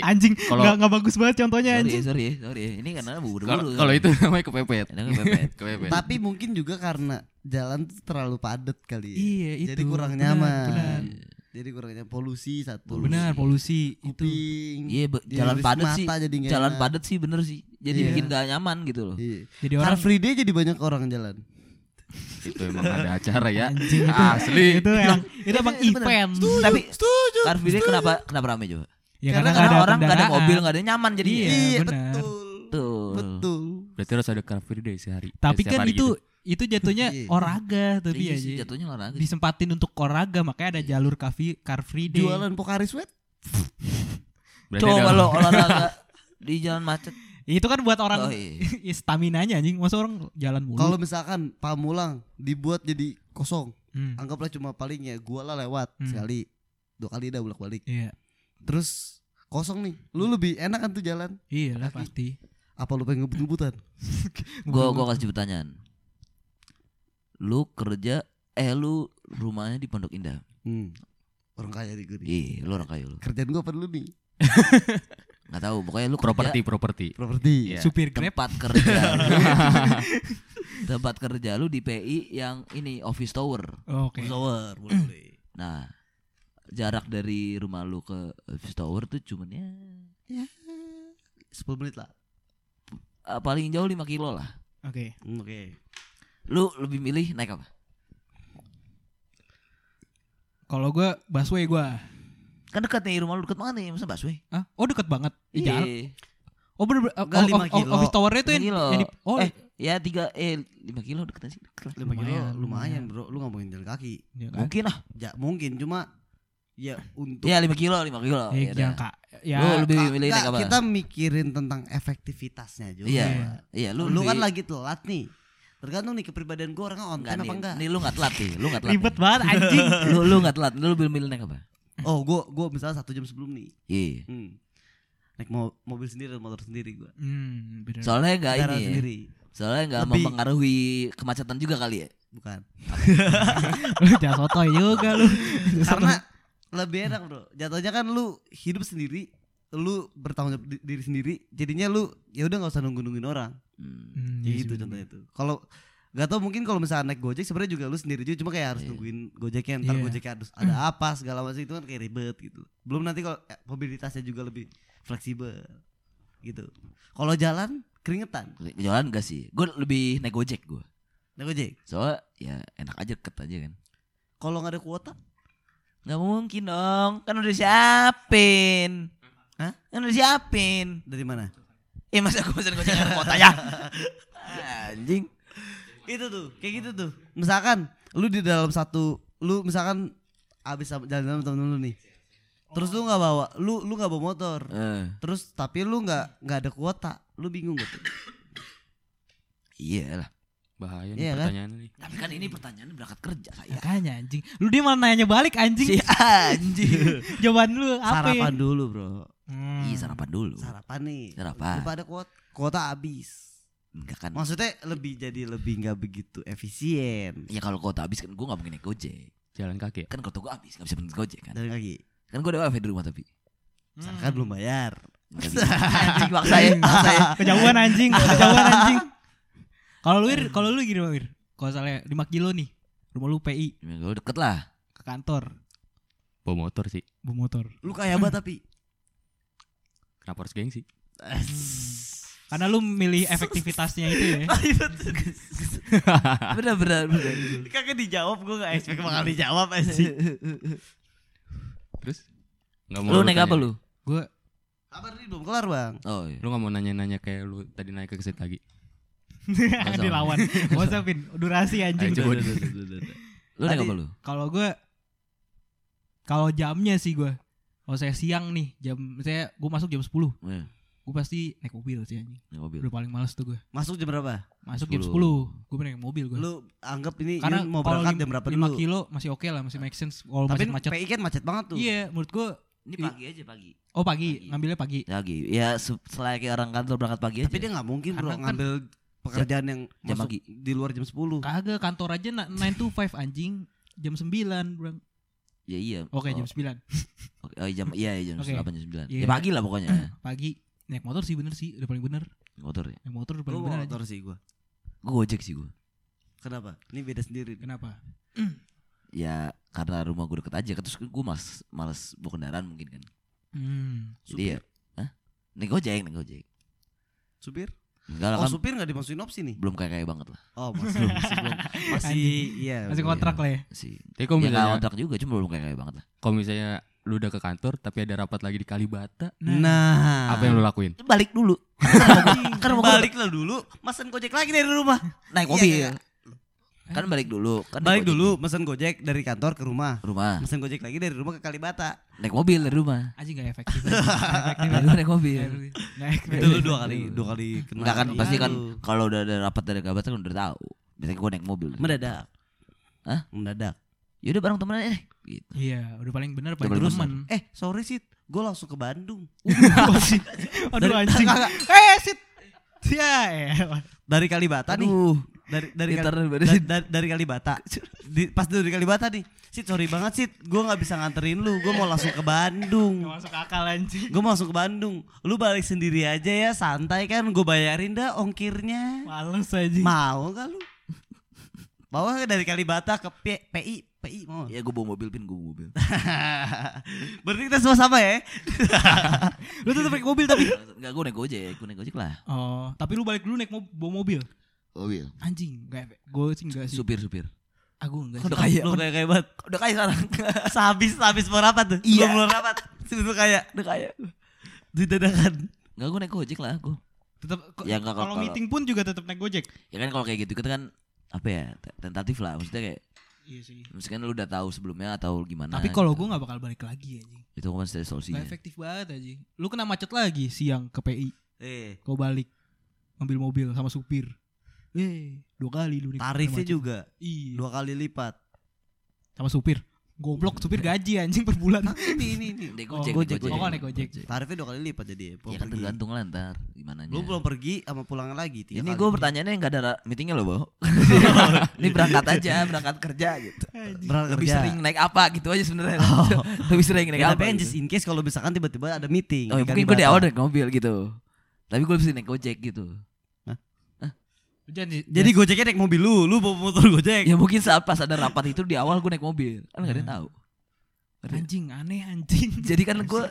[SPEAKER 1] Anjing,
[SPEAKER 4] Kalau-
[SPEAKER 1] nggak nggak bagus banget contohnya
[SPEAKER 3] Sorry,
[SPEAKER 1] anjing.
[SPEAKER 3] sorry, sorry. Ini karena
[SPEAKER 4] Kalau
[SPEAKER 3] buru-buru. kan.
[SPEAKER 4] kalau itu namanya kepepet.
[SPEAKER 3] Karena kepepet.
[SPEAKER 4] Kepepet.
[SPEAKER 2] tapi mungkin juga karena jalan tuh terlalu padat kali ya.
[SPEAKER 1] Iya, itu.
[SPEAKER 2] jadi kurang
[SPEAKER 1] Benar,
[SPEAKER 2] nyaman
[SPEAKER 1] Benar,
[SPEAKER 2] jadi kurang nyaman polusi satu
[SPEAKER 1] Benar, polusi itu.
[SPEAKER 2] kuping
[SPEAKER 3] Iya, be-
[SPEAKER 2] Jadi
[SPEAKER 3] jalan
[SPEAKER 2] iris
[SPEAKER 3] padat
[SPEAKER 2] mata
[SPEAKER 3] sih.
[SPEAKER 2] jadi nggak
[SPEAKER 3] Jalan
[SPEAKER 2] enak.
[SPEAKER 3] padat sih bener sih. Jadi
[SPEAKER 2] Iya.
[SPEAKER 3] bikin gak nyaman gitu loh.
[SPEAKER 2] Iya.
[SPEAKER 1] Jadi
[SPEAKER 2] Car
[SPEAKER 1] orang
[SPEAKER 2] Free Day jadi banyak orang jalan.
[SPEAKER 4] itu emang ada acara ya.
[SPEAKER 1] anjing itu.
[SPEAKER 4] Asli.
[SPEAKER 1] Itu emang itu emang event.
[SPEAKER 3] Tapi Car Free Day kenapa kenapa rame coba?
[SPEAKER 1] Ya
[SPEAKER 3] karena,
[SPEAKER 1] nggak
[SPEAKER 3] karena orang gak ada
[SPEAKER 1] kendaraan.
[SPEAKER 3] mobil, gak ada nyaman jadi.
[SPEAKER 1] Iya, benar.
[SPEAKER 2] betul.
[SPEAKER 3] Betul.
[SPEAKER 2] Betul.
[SPEAKER 4] Berarti harus ada car free day sehari.
[SPEAKER 1] Tapi
[SPEAKER 4] eh, setiap
[SPEAKER 1] kan
[SPEAKER 4] hari
[SPEAKER 1] itu
[SPEAKER 4] gitu.
[SPEAKER 1] itu jatuhnya
[SPEAKER 2] Iya.
[SPEAKER 1] olahraga tapi
[SPEAKER 3] Iya
[SPEAKER 1] ya.
[SPEAKER 3] sih, Iya.
[SPEAKER 1] Ji.
[SPEAKER 3] jatuhnya olahraga. sih.
[SPEAKER 1] Disempatin untuk olahraga makanya ada jalur car free, car free day.
[SPEAKER 2] Jualan Pocari Sweat.
[SPEAKER 4] Berarti
[SPEAKER 3] Coba
[SPEAKER 4] ada-
[SPEAKER 3] lo olahraga di jalan macet.
[SPEAKER 1] Itu kan buat
[SPEAKER 3] Oh,
[SPEAKER 1] orang
[SPEAKER 3] iya.
[SPEAKER 1] ya, stamina-nya anjing. Masa orang jalan mulu.
[SPEAKER 2] Kalau misalkan Pamulang dibuat jadi kosong,
[SPEAKER 1] Hmm.
[SPEAKER 2] anggaplah cuma paling ya gua lah lewat
[SPEAKER 1] Hmm.
[SPEAKER 2] sekali, dua kali dah bolak balik.
[SPEAKER 1] Iya.
[SPEAKER 2] Terus kosong nih, lu lebih enak kan tuh jalan?
[SPEAKER 1] Iya lah pasti.
[SPEAKER 2] Apa lu pengen ngebut-ngebutan?
[SPEAKER 3] Gua gua kasih pertanyaan. Lu kerja eh lu rumahnya di Pondok Indah.
[SPEAKER 2] Hmm. Orang kaya di gue nih.
[SPEAKER 3] Iya, lu orang kaya lu.
[SPEAKER 2] Kerjaan gua apa dulu nih?
[SPEAKER 3] Enggak tahu, pokoknya lu
[SPEAKER 4] properti
[SPEAKER 3] kerja
[SPEAKER 4] properti.
[SPEAKER 2] Properti.
[SPEAKER 4] Iya.
[SPEAKER 1] supir Grab
[SPEAKER 3] tempat kerja. lu- tempat kerja lu di PI yang ini office tower.
[SPEAKER 1] Oh, Oke.
[SPEAKER 2] Tower, boleh.
[SPEAKER 3] Nah, jarak dari rumah lu ke office tower tuh cuman ya
[SPEAKER 2] ya. 10 menit lah.
[SPEAKER 3] eh, paling jauh 5 kilo lah.
[SPEAKER 1] Oke.
[SPEAKER 2] Hmm, Oke.
[SPEAKER 3] Lu lebih milih naik apa?
[SPEAKER 1] Kalau gue busway gue.
[SPEAKER 3] Kan dekat nih rumah lu dekat banget nih, masa busway?
[SPEAKER 1] Ah, oh deket banget. Di
[SPEAKER 3] Iya.
[SPEAKER 1] jalan. Oh bener bener.
[SPEAKER 2] Enggak, lima kilo.
[SPEAKER 1] office towernya tuh yang,
[SPEAKER 3] Lima kilo.
[SPEAKER 1] yang di- Oh
[SPEAKER 3] Eh, ya 3 eh 5 kilo dekat sih. Deket lah.
[SPEAKER 2] Lima kilo
[SPEAKER 1] Lumayan, lumayan.
[SPEAKER 2] lumayan, Bro. Lu nggak mungkin jalan kaki.
[SPEAKER 1] ya kan?
[SPEAKER 3] Eh? Mungkin lah.
[SPEAKER 2] Ya mungkin cuma ya untuk
[SPEAKER 3] Ya 5 kilo, 5 kilo.
[SPEAKER 1] Eh,
[SPEAKER 3] Ya,
[SPEAKER 1] jangan
[SPEAKER 3] dah.
[SPEAKER 1] Kak. Ya.
[SPEAKER 3] Lu lebih
[SPEAKER 2] Ka-
[SPEAKER 3] milih
[SPEAKER 2] nggak,
[SPEAKER 3] naik apa?
[SPEAKER 2] kita mikirin tentang efektivitasnya juga.
[SPEAKER 3] Iya.
[SPEAKER 1] Iya.
[SPEAKER 3] Iya,
[SPEAKER 2] Lu,
[SPEAKER 3] lu
[SPEAKER 2] lu kan lagi
[SPEAKER 3] lebih-
[SPEAKER 2] telat nih. Tergantung nih kepribadian gua orangnya on
[SPEAKER 3] Enggak
[SPEAKER 2] time
[SPEAKER 3] nih,
[SPEAKER 2] apa enggak.
[SPEAKER 3] nih lu gak telat nih, lu gak telat.
[SPEAKER 1] Ribet banget anjing.
[SPEAKER 3] lu lu gak telat, lu lebih milih naik apa?
[SPEAKER 2] Oh, gua gua misalnya satu jam sebelum nih.
[SPEAKER 3] Iya.
[SPEAKER 2] Hmm. Naik mo- mobil sendiri atau motor sendiri gua.
[SPEAKER 1] hmm, bener.
[SPEAKER 3] Soalnya gak ini
[SPEAKER 2] Kendaraan
[SPEAKER 3] ya.
[SPEAKER 2] sendiri.
[SPEAKER 3] Soalnya gak
[SPEAKER 2] Lebih.
[SPEAKER 3] mempengaruhi kemacetan juga kali ya.
[SPEAKER 2] Bukan.
[SPEAKER 1] lu jangan sotoy juga lu. Iya,
[SPEAKER 2] Karena lebih enak, Bro. Jatuhnya kan lu hidup sendiri, lu bertanggung jawab di- diri sendiri. Jadinya lu ya udah nggak usah nunggu-nungguin orang.
[SPEAKER 3] Hmm.
[SPEAKER 1] Hmm, iya
[SPEAKER 2] Kayak gitu
[SPEAKER 1] sih,
[SPEAKER 2] contohnya itu. Kalau gak tau mungkin kalau misalnya naik gojek sebenarnya juga lu sendiri juga cuma kayak harus nungguin gojeknya ntar
[SPEAKER 1] Iya.
[SPEAKER 2] gojeknya harus ada apa segala macam itu kan kayak ribet gitu. Belum nanti kalau eh, mobilitasnya juga lebih fleksibel gitu. Kalau jalan keringetan
[SPEAKER 3] Hmm. Jalan gak sih? Gue lebih naik gojek gue.
[SPEAKER 2] naik gojek.
[SPEAKER 3] Soalnya ya enak aja deket aja kan.
[SPEAKER 2] Kalau nggak ada kuota
[SPEAKER 3] Gak mungkin dong, kan udah siapin. Hah? Kan udah siapin.
[SPEAKER 2] dari mana?
[SPEAKER 3] Eh masa gue pesan gojek ada kota ya? Anjing.
[SPEAKER 2] Itu tuh kayak gitu tuh. Misalkan lu di dalam satu lu misalkan abis jalan-jalan sama temen lu nih terus lu nggak bawa lu lu nggak bawa motor
[SPEAKER 3] Eh,
[SPEAKER 2] terus tapi lu nggak nggak ada kuota lu bingung gitu
[SPEAKER 3] iya lah.
[SPEAKER 4] Bahaya
[SPEAKER 2] Iya
[SPEAKER 4] nih
[SPEAKER 2] kan?
[SPEAKER 4] pertanyaannya nih.
[SPEAKER 3] Tapi kan ini pertanyaannya berangkat kerja ya? kayak.
[SPEAKER 1] Ya Makanya anjing. Lu dia malah nanya balik anjing.
[SPEAKER 3] Si anjing.
[SPEAKER 1] Jawaban lu apa?
[SPEAKER 2] Iya.
[SPEAKER 1] ya?
[SPEAKER 2] sarapan dulu bro
[SPEAKER 1] Hmm.
[SPEAKER 3] Ih, sarapan dulu.
[SPEAKER 2] sarapan nih
[SPEAKER 3] Sarapan.
[SPEAKER 2] Lu pada kuota kuota habis
[SPEAKER 3] Enggak kan.
[SPEAKER 2] maksudnya lebih jadi lebih nggak begitu efisien
[SPEAKER 3] Ya kalau kota habis kan gue gak mungkin naik gojek.
[SPEAKER 4] Jalan kaki ya?
[SPEAKER 3] Kan kota gue habis gak bisa bener gojek kan.
[SPEAKER 2] dari kaki
[SPEAKER 1] Hmm.
[SPEAKER 3] Kan gue udah WiFi di rumah tapi.
[SPEAKER 2] misalkan belum bayar
[SPEAKER 3] Nggak bisa. Anjing maksa ya. Maksa ya.
[SPEAKER 1] Kejauhan anjing, kejauhan anjing. Kalau lu Wir, kalau lu gini Wir. Kalau misalnya 5 kilo nih, rumah lu PI
[SPEAKER 3] Ya, Gue deket lah.
[SPEAKER 1] ke kantor,
[SPEAKER 4] Bawa motor sih.
[SPEAKER 1] bawa motor.
[SPEAKER 2] lu kaya banget tapi
[SPEAKER 4] Kenapa harus gengsi?
[SPEAKER 1] Karena lu milih efektivitasnya itu ya.
[SPEAKER 3] Ah, iya, Bener bener bener.
[SPEAKER 2] kakak dijawab gue nggak expect bakal dijawab sih
[SPEAKER 4] Terus? Nggak
[SPEAKER 3] Lu naik apa
[SPEAKER 4] tanya?
[SPEAKER 3] lu?
[SPEAKER 1] Gue
[SPEAKER 2] kabar nih belum kelar bang
[SPEAKER 3] Oh iya.
[SPEAKER 4] Lu nggak mau nanya-nanya kayak lu tadi naik ke keset lagi?
[SPEAKER 3] usah.
[SPEAKER 1] dilawan. Gak usah Vin, durasi anjing.
[SPEAKER 4] Ayo, coba
[SPEAKER 1] Udah.
[SPEAKER 4] dulu.
[SPEAKER 3] Lu naik
[SPEAKER 1] Tadi-
[SPEAKER 3] apa lu?
[SPEAKER 1] Kalau gue kalau jamnya sih gue. Kalau saya siang nih, jam saya gue masuk jam 10.
[SPEAKER 2] Oh,
[SPEAKER 3] Iya,
[SPEAKER 1] Gue pasti naik mobil sih anjing.
[SPEAKER 2] Iya.
[SPEAKER 3] Naik mobil.
[SPEAKER 1] Udah paling males tuh gue.
[SPEAKER 2] masuk jam berapa
[SPEAKER 1] Masuk jam 10.
[SPEAKER 3] 10.
[SPEAKER 1] Gue naik mobil gue.
[SPEAKER 2] lu anggap ini
[SPEAKER 1] Karena
[SPEAKER 2] ini mau
[SPEAKER 1] kalau
[SPEAKER 2] berangkat
[SPEAKER 1] lim-
[SPEAKER 2] jam berapa
[SPEAKER 1] 5
[SPEAKER 2] dulu
[SPEAKER 1] kilo masih oke lah, masih make sense kalau
[SPEAKER 2] tapi
[SPEAKER 1] masih macet.
[SPEAKER 2] PI kan macet banget tuh
[SPEAKER 1] Iya, menurut gue
[SPEAKER 3] Ini pagi aja pagi.
[SPEAKER 1] oh pagi,
[SPEAKER 3] Pagi.
[SPEAKER 1] ngambilnya pagi.
[SPEAKER 3] Lagi. Ya se- selayaknya orang kantor berangkat pagi aja.
[SPEAKER 2] tapi dia nggak mungkin bro
[SPEAKER 1] iya. Karena kan-
[SPEAKER 2] ngambil pekerjaan yang
[SPEAKER 3] jam
[SPEAKER 2] masuk
[SPEAKER 3] pagi.
[SPEAKER 2] di luar jam 10
[SPEAKER 1] Kagak kantor aja na- 9 to 5 anjing, jam 9 Bang.
[SPEAKER 3] Ya iya.
[SPEAKER 1] Oke,
[SPEAKER 3] Oh,
[SPEAKER 1] jam 9
[SPEAKER 3] oke. Oh, jam iya iya, jam
[SPEAKER 1] Oke.
[SPEAKER 3] 8 jam 9.
[SPEAKER 1] Iya.
[SPEAKER 3] Ya pagi lah pokoknya.
[SPEAKER 1] pagi. Naik motor sih bener sih, udah paling bener.
[SPEAKER 3] Motor ya.
[SPEAKER 1] Naik motor udah
[SPEAKER 2] lu
[SPEAKER 1] paling bener.
[SPEAKER 2] bawa
[SPEAKER 1] anjing.
[SPEAKER 2] motor sih gue
[SPEAKER 3] Gue gojek sih gue.
[SPEAKER 2] kenapa ini beda sendiri nih.
[SPEAKER 1] Kenapa?
[SPEAKER 3] Ya karena rumah gue deket aja. Terus gue males males bawa kendaraan mungkin kan.
[SPEAKER 1] Hmm.
[SPEAKER 3] Jadi ya. Hah? Naik gojek, naik gojek.
[SPEAKER 2] supir
[SPEAKER 3] Enggak lah
[SPEAKER 2] oh
[SPEAKER 3] kan
[SPEAKER 2] supir nggak dimasukin opsi nih
[SPEAKER 3] belum kayak kayak banget lah
[SPEAKER 2] oh masih masih belum masih
[SPEAKER 1] Anjing.
[SPEAKER 2] iya
[SPEAKER 1] Masih
[SPEAKER 2] belum.
[SPEAKER 1] kontrak lah ya.
[SPEAKER 3] sih.
[SPEAKER 4] Tapi
[SPEAKER 3] Ya
[SPEAKER 4] kalau
[SPEAKER 3] nggak
[SPEAKER 4] misalnya,
[SPEAKER 3] kontrak juga cuma belum kayak kayak banget lah.
[SPEAKER 4] kalau misalnya lu udah ke kantor tapi ada rapat lagi di Kalibata,
[SPEAKER 2] nah
[SPEAKER 4] apa yang lu lakuin?
[SPEAKER 3] Balik dulu.
[SPEAKER 2] kan
[SPEAKER 3] mau
[SPEAKER 2] balik lah dulu mesen gojek lagi dari rumah Iya,
[SPEAKER 3] Naik mobil.
[SPEAKER 2] iya.
[SPEAKER 3] Kan balik dulu. Kan naik
[SPEAKER 2] balik
[SPEAKER 3] gojek
[SPEAKER 2] dulu mesen gojek dari kantor ke rumah
[SPEAKER 3] ke rumah.
[SPEAKER 2] mesen gojek lagi dari rumah ke Kalibata
[SPEAKER 3] Naik mobil dari rumah.
[SPEAKER 1] Anjing gak efektif. Nggak efektif.
[SPEAKER 3] Dari rumah naik mobil.
[SPEAKER 1] Nggak efektif. Nggak efektif.
[SPEAKER 2] Iya. itu lu dua kali dua kali kena
[SPEAKER 3] Enggak kan
[SPEAKER 2] Iya,
[SPEAKER 3] pasti kan
[SPEAKER 2] lu.
[SPEAKER 3] kalau udah ada rapat dari kabar kan udah tahu. Biasanya gue naik mobil.
[SPEAKER 2] mendadak
[SPEAKER 3] Hah?
[SPEAKER 2] mendadak
[SPEAKER 3] Ya udah bareng temenan eh. Gitu.
[SPEAKER 1] Iya, udah paling bener paling
[SPEAKER 3] paling
[SPEAKER 1] temen.
[SPEAKER 2] eh sorry sih gue langsung ke Bandung
[SPEAKER 1] Aduh
[SPEAKER 2] Dari-
[SPEAKER 1] anjing.
[SPEAKER 2] Nggak, nggak.
[SPEAKER 1] Eh, sit. Ya, elah.
[SPEAKER 2] dari Kalibata nih
[SPEAKER 3] Aduh,
[SPEAKER 2] dari dari Kal-
[SPEAKER 3] Internet
[SPEAKER 2] da-
[SPEAKER 3] beres.
[SPEAKER 2] da- dari Kalibata Di- pas dari Kalibata nih Sid sorry banget Sid gue nggak bisa nganterin lu gue mau langsung ke
[SPEAKER 1] Nggak
[SPEAKER 2] Bandung
[SPEAKER 1] masuk akal anjing.
[SPEAKER 2] gue mau langsung ke Bandung lu balik sendiri aja ya santai kan gue bayarin dah ongkirnya
[SPEAKER 1] Males anjing.
[SPEAKER 2] mau gak lu bawa dari Kalibata ke P- PI PI mau nggak?
[SPEAKER 3] ya gue bawa mobil pin gue bawa mobil.
[SPEAKER 2] berarti kita semua sama ya
[SPEAKER 1] Lu tetep naik mobil tapi.
[SPEAKER 3] Enggak gue naik gojek, gue naik gojek lah.
[SPEAKER 1] Oh, tapi lu balik dulu naik mob- bawa mobil.
[SPEAKER 3] Mobil.
[SPEAKER 1] Anjing, enggak gue sih enggak sih.
[SPEAKER 3] Supir supir.
[SPEAKER 1] Aku enggak
[SPEAKER 3] Udah
[SPEAKER 1] sih.
[SPEAKER 3] kaya.
[SPEAKER 2] lu kayak kayak banget
[SPEAKER 3] Udah kaya sekarang.
[SPEAKER 2] sehabis habis mau rapat tuh
[SPEAKER 3] Iya.
[SPEAKER 2] belum mau rapat itu kayak
[SPEAKER 3] Udah kaya.
[SPEAKER 2] didadakan
[SPEAKER 3] Enggak gue naik gojek lah gue.
[SPEAKER 1] Tetap
[SPEAKER 3] Ya enggak
[SPEAKER 1] kalau meeting pun juga tetap naik Gojek.
[SPEAKER 3] Ya kan kalau kayak gitu kita kan apa ya te- tentatif lah maksudnya kayak
[SPEAKER 1] Iya sih.
[SPEAKER 3] misalkan lu udah tahu sebelumnya atau
[SPEAKER 2] Nah,
[SPEAKER 3] gimana
[SPEAKER 1] Tapi kalau
[SPEAKER 3] gitu.
[SPEAKER 1] gue nggak bakal balik lagi anjing.
[SPEAKER 3] itu kan dari solusinya
[SPEAKER 1] Gak
[SPEAKER 2] Iya.
[SPEAKER 1] efektif banget anjing. Lu kena macet lagi siang ke PI.
[SPEAKER 2] eh
[SPEAKER 1] Kau balik ngambil mobil sama supir. Eh, dua kali lu nih. kena
[SPEAKER 2] tarifnya
[SPEAKER 1] macet.
[SPEAKER 2] juga
[SPEAKER 1] Iya.
[SPEAKER 2] dua kali lipat
[SPEAKER 1] Sama supir. Goblok supir gaji anjing per bulan.
[SPEAKER 2] ini ini ini
[SPEAKER 3] Naik
[SPEAKER 1] Oh,
[SPEAKER 2] Gojek,
[SPEAKER 3] gojek, naik gojek.
[SPEAKER 2] Gojek.
[SPEAKER 1] Oh, naik Gojek.
[SPEAKER 2] tarifnya dua kali lipat jadi
[SPEAKER 3] Ya
[SPEAKER 2] ya,
[SPEAKER 3] kan tergantung lah ntar gimana
[SPEAKER 2] lu belum pergi sama pulang lagi tiga kali.
[SPEAKER 3] Ini gue pertanyaannya nggak ada ra- meetingnya loh, Bo. Ini berangkat aja, berangkat kerja gitu.
[SPEAKER 2] berangkat
[SPEAKER 3] Lebih
[SPEAKER 2] kerja
[SPEAKER 3] sering naik apa gitu aja sebenarnya. Lebih sering naik
[SPEAKER 2] Ya,
[SPEAKER 3] apa.
[SPEAKER 2] tapi kan
[SPEAKER 3] gitu.
[SPEAKER 2] just in case kalau misalkan tiba-tiba ada meeting di
[SPEAKER 3] Oh, mungkin gue
[SPEAKER 2] Kalibata.
[SPEAKER 3] di awal naik mobil gitu. Tapi gue bisa naik gojek gitu.
[SPEAKER 1] Lu Jangan di-
[SPEAKER 2] jadi gojeknya naik mobil lu lu bawa motor gojek
[SPEAKER 3] Ya mungkin saat pas ada rapat itu di awal gue naik mobil. Kan nggak ada
[SPEAKER 2] Nah.
[SPEAKER 3] yang tahu.
[SPEAKER 1] jangan- anjing aneh anjing.
[SPEAKER 3] Jadi kan gue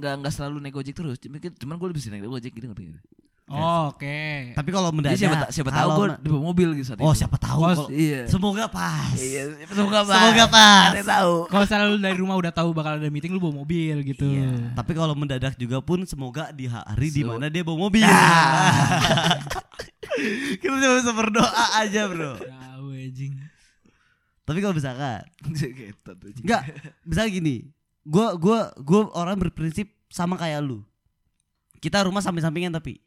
[SPEAKER 3] nggak nggak selalu naik gojek terus. Cuman- Cuman gue lebih sering naik gojek gitu ngerti nggak?
[SPEAKER 1] Oh, Oke.
[SPEAKER 2] tapi kalau
[SPEAKER 3] Jadi
[SPEAKER 2] mendadak
[SPEAKER 3] siapa ta- siapa tahu
[SPEAKER 2] kalau
[SPEAKER 3] gue
[SPEAKER 2] ma-
[SPEAKER 3] di bawah mobil gitu saat
[SPEAKER 2] oh
[SPEAKER 3] itu.
[SPEAKER 2] siapa tahu
[SPEAKER 1] Oh,
[SPEAKER 2] kalau-
[SPEAKER 3] Iya.
[SPEAKER 2] semoga pas
[SPEAKER 3] Iya, semoga pas.
[SPEAKER 2] semoga
[SPEAKER 3] Nggak
[SPEAKER 2] pas
[SPEAKER 3] ada yang tahu.
[SPEAKER 1] Kalau misalnya lu dari rumah udah tahu bakal ada meeting lu bawa mobil gitu.
[SPEAKER 2] Tapi kalau mendadak juga pun semoga di hari di
[SPEAKER 3] Sel-
[SPEAKER 2] mana dia bawa mobil.
[SPEAKER 3] Nah.
[SPEAKER 2] Kita cuma bisa berdoa aja, Bro.
[SPEAKER 1] Tahu anjing.
[SPEAKER 2] Tapi kalau misalkan
[SPEAKER 3] Ketot aja.
[SPEAKER 2] Enggak, misalnya gini. Gua gua gua orang berprinsip sama kayak lu. Kita rumah samping-sampingan tapi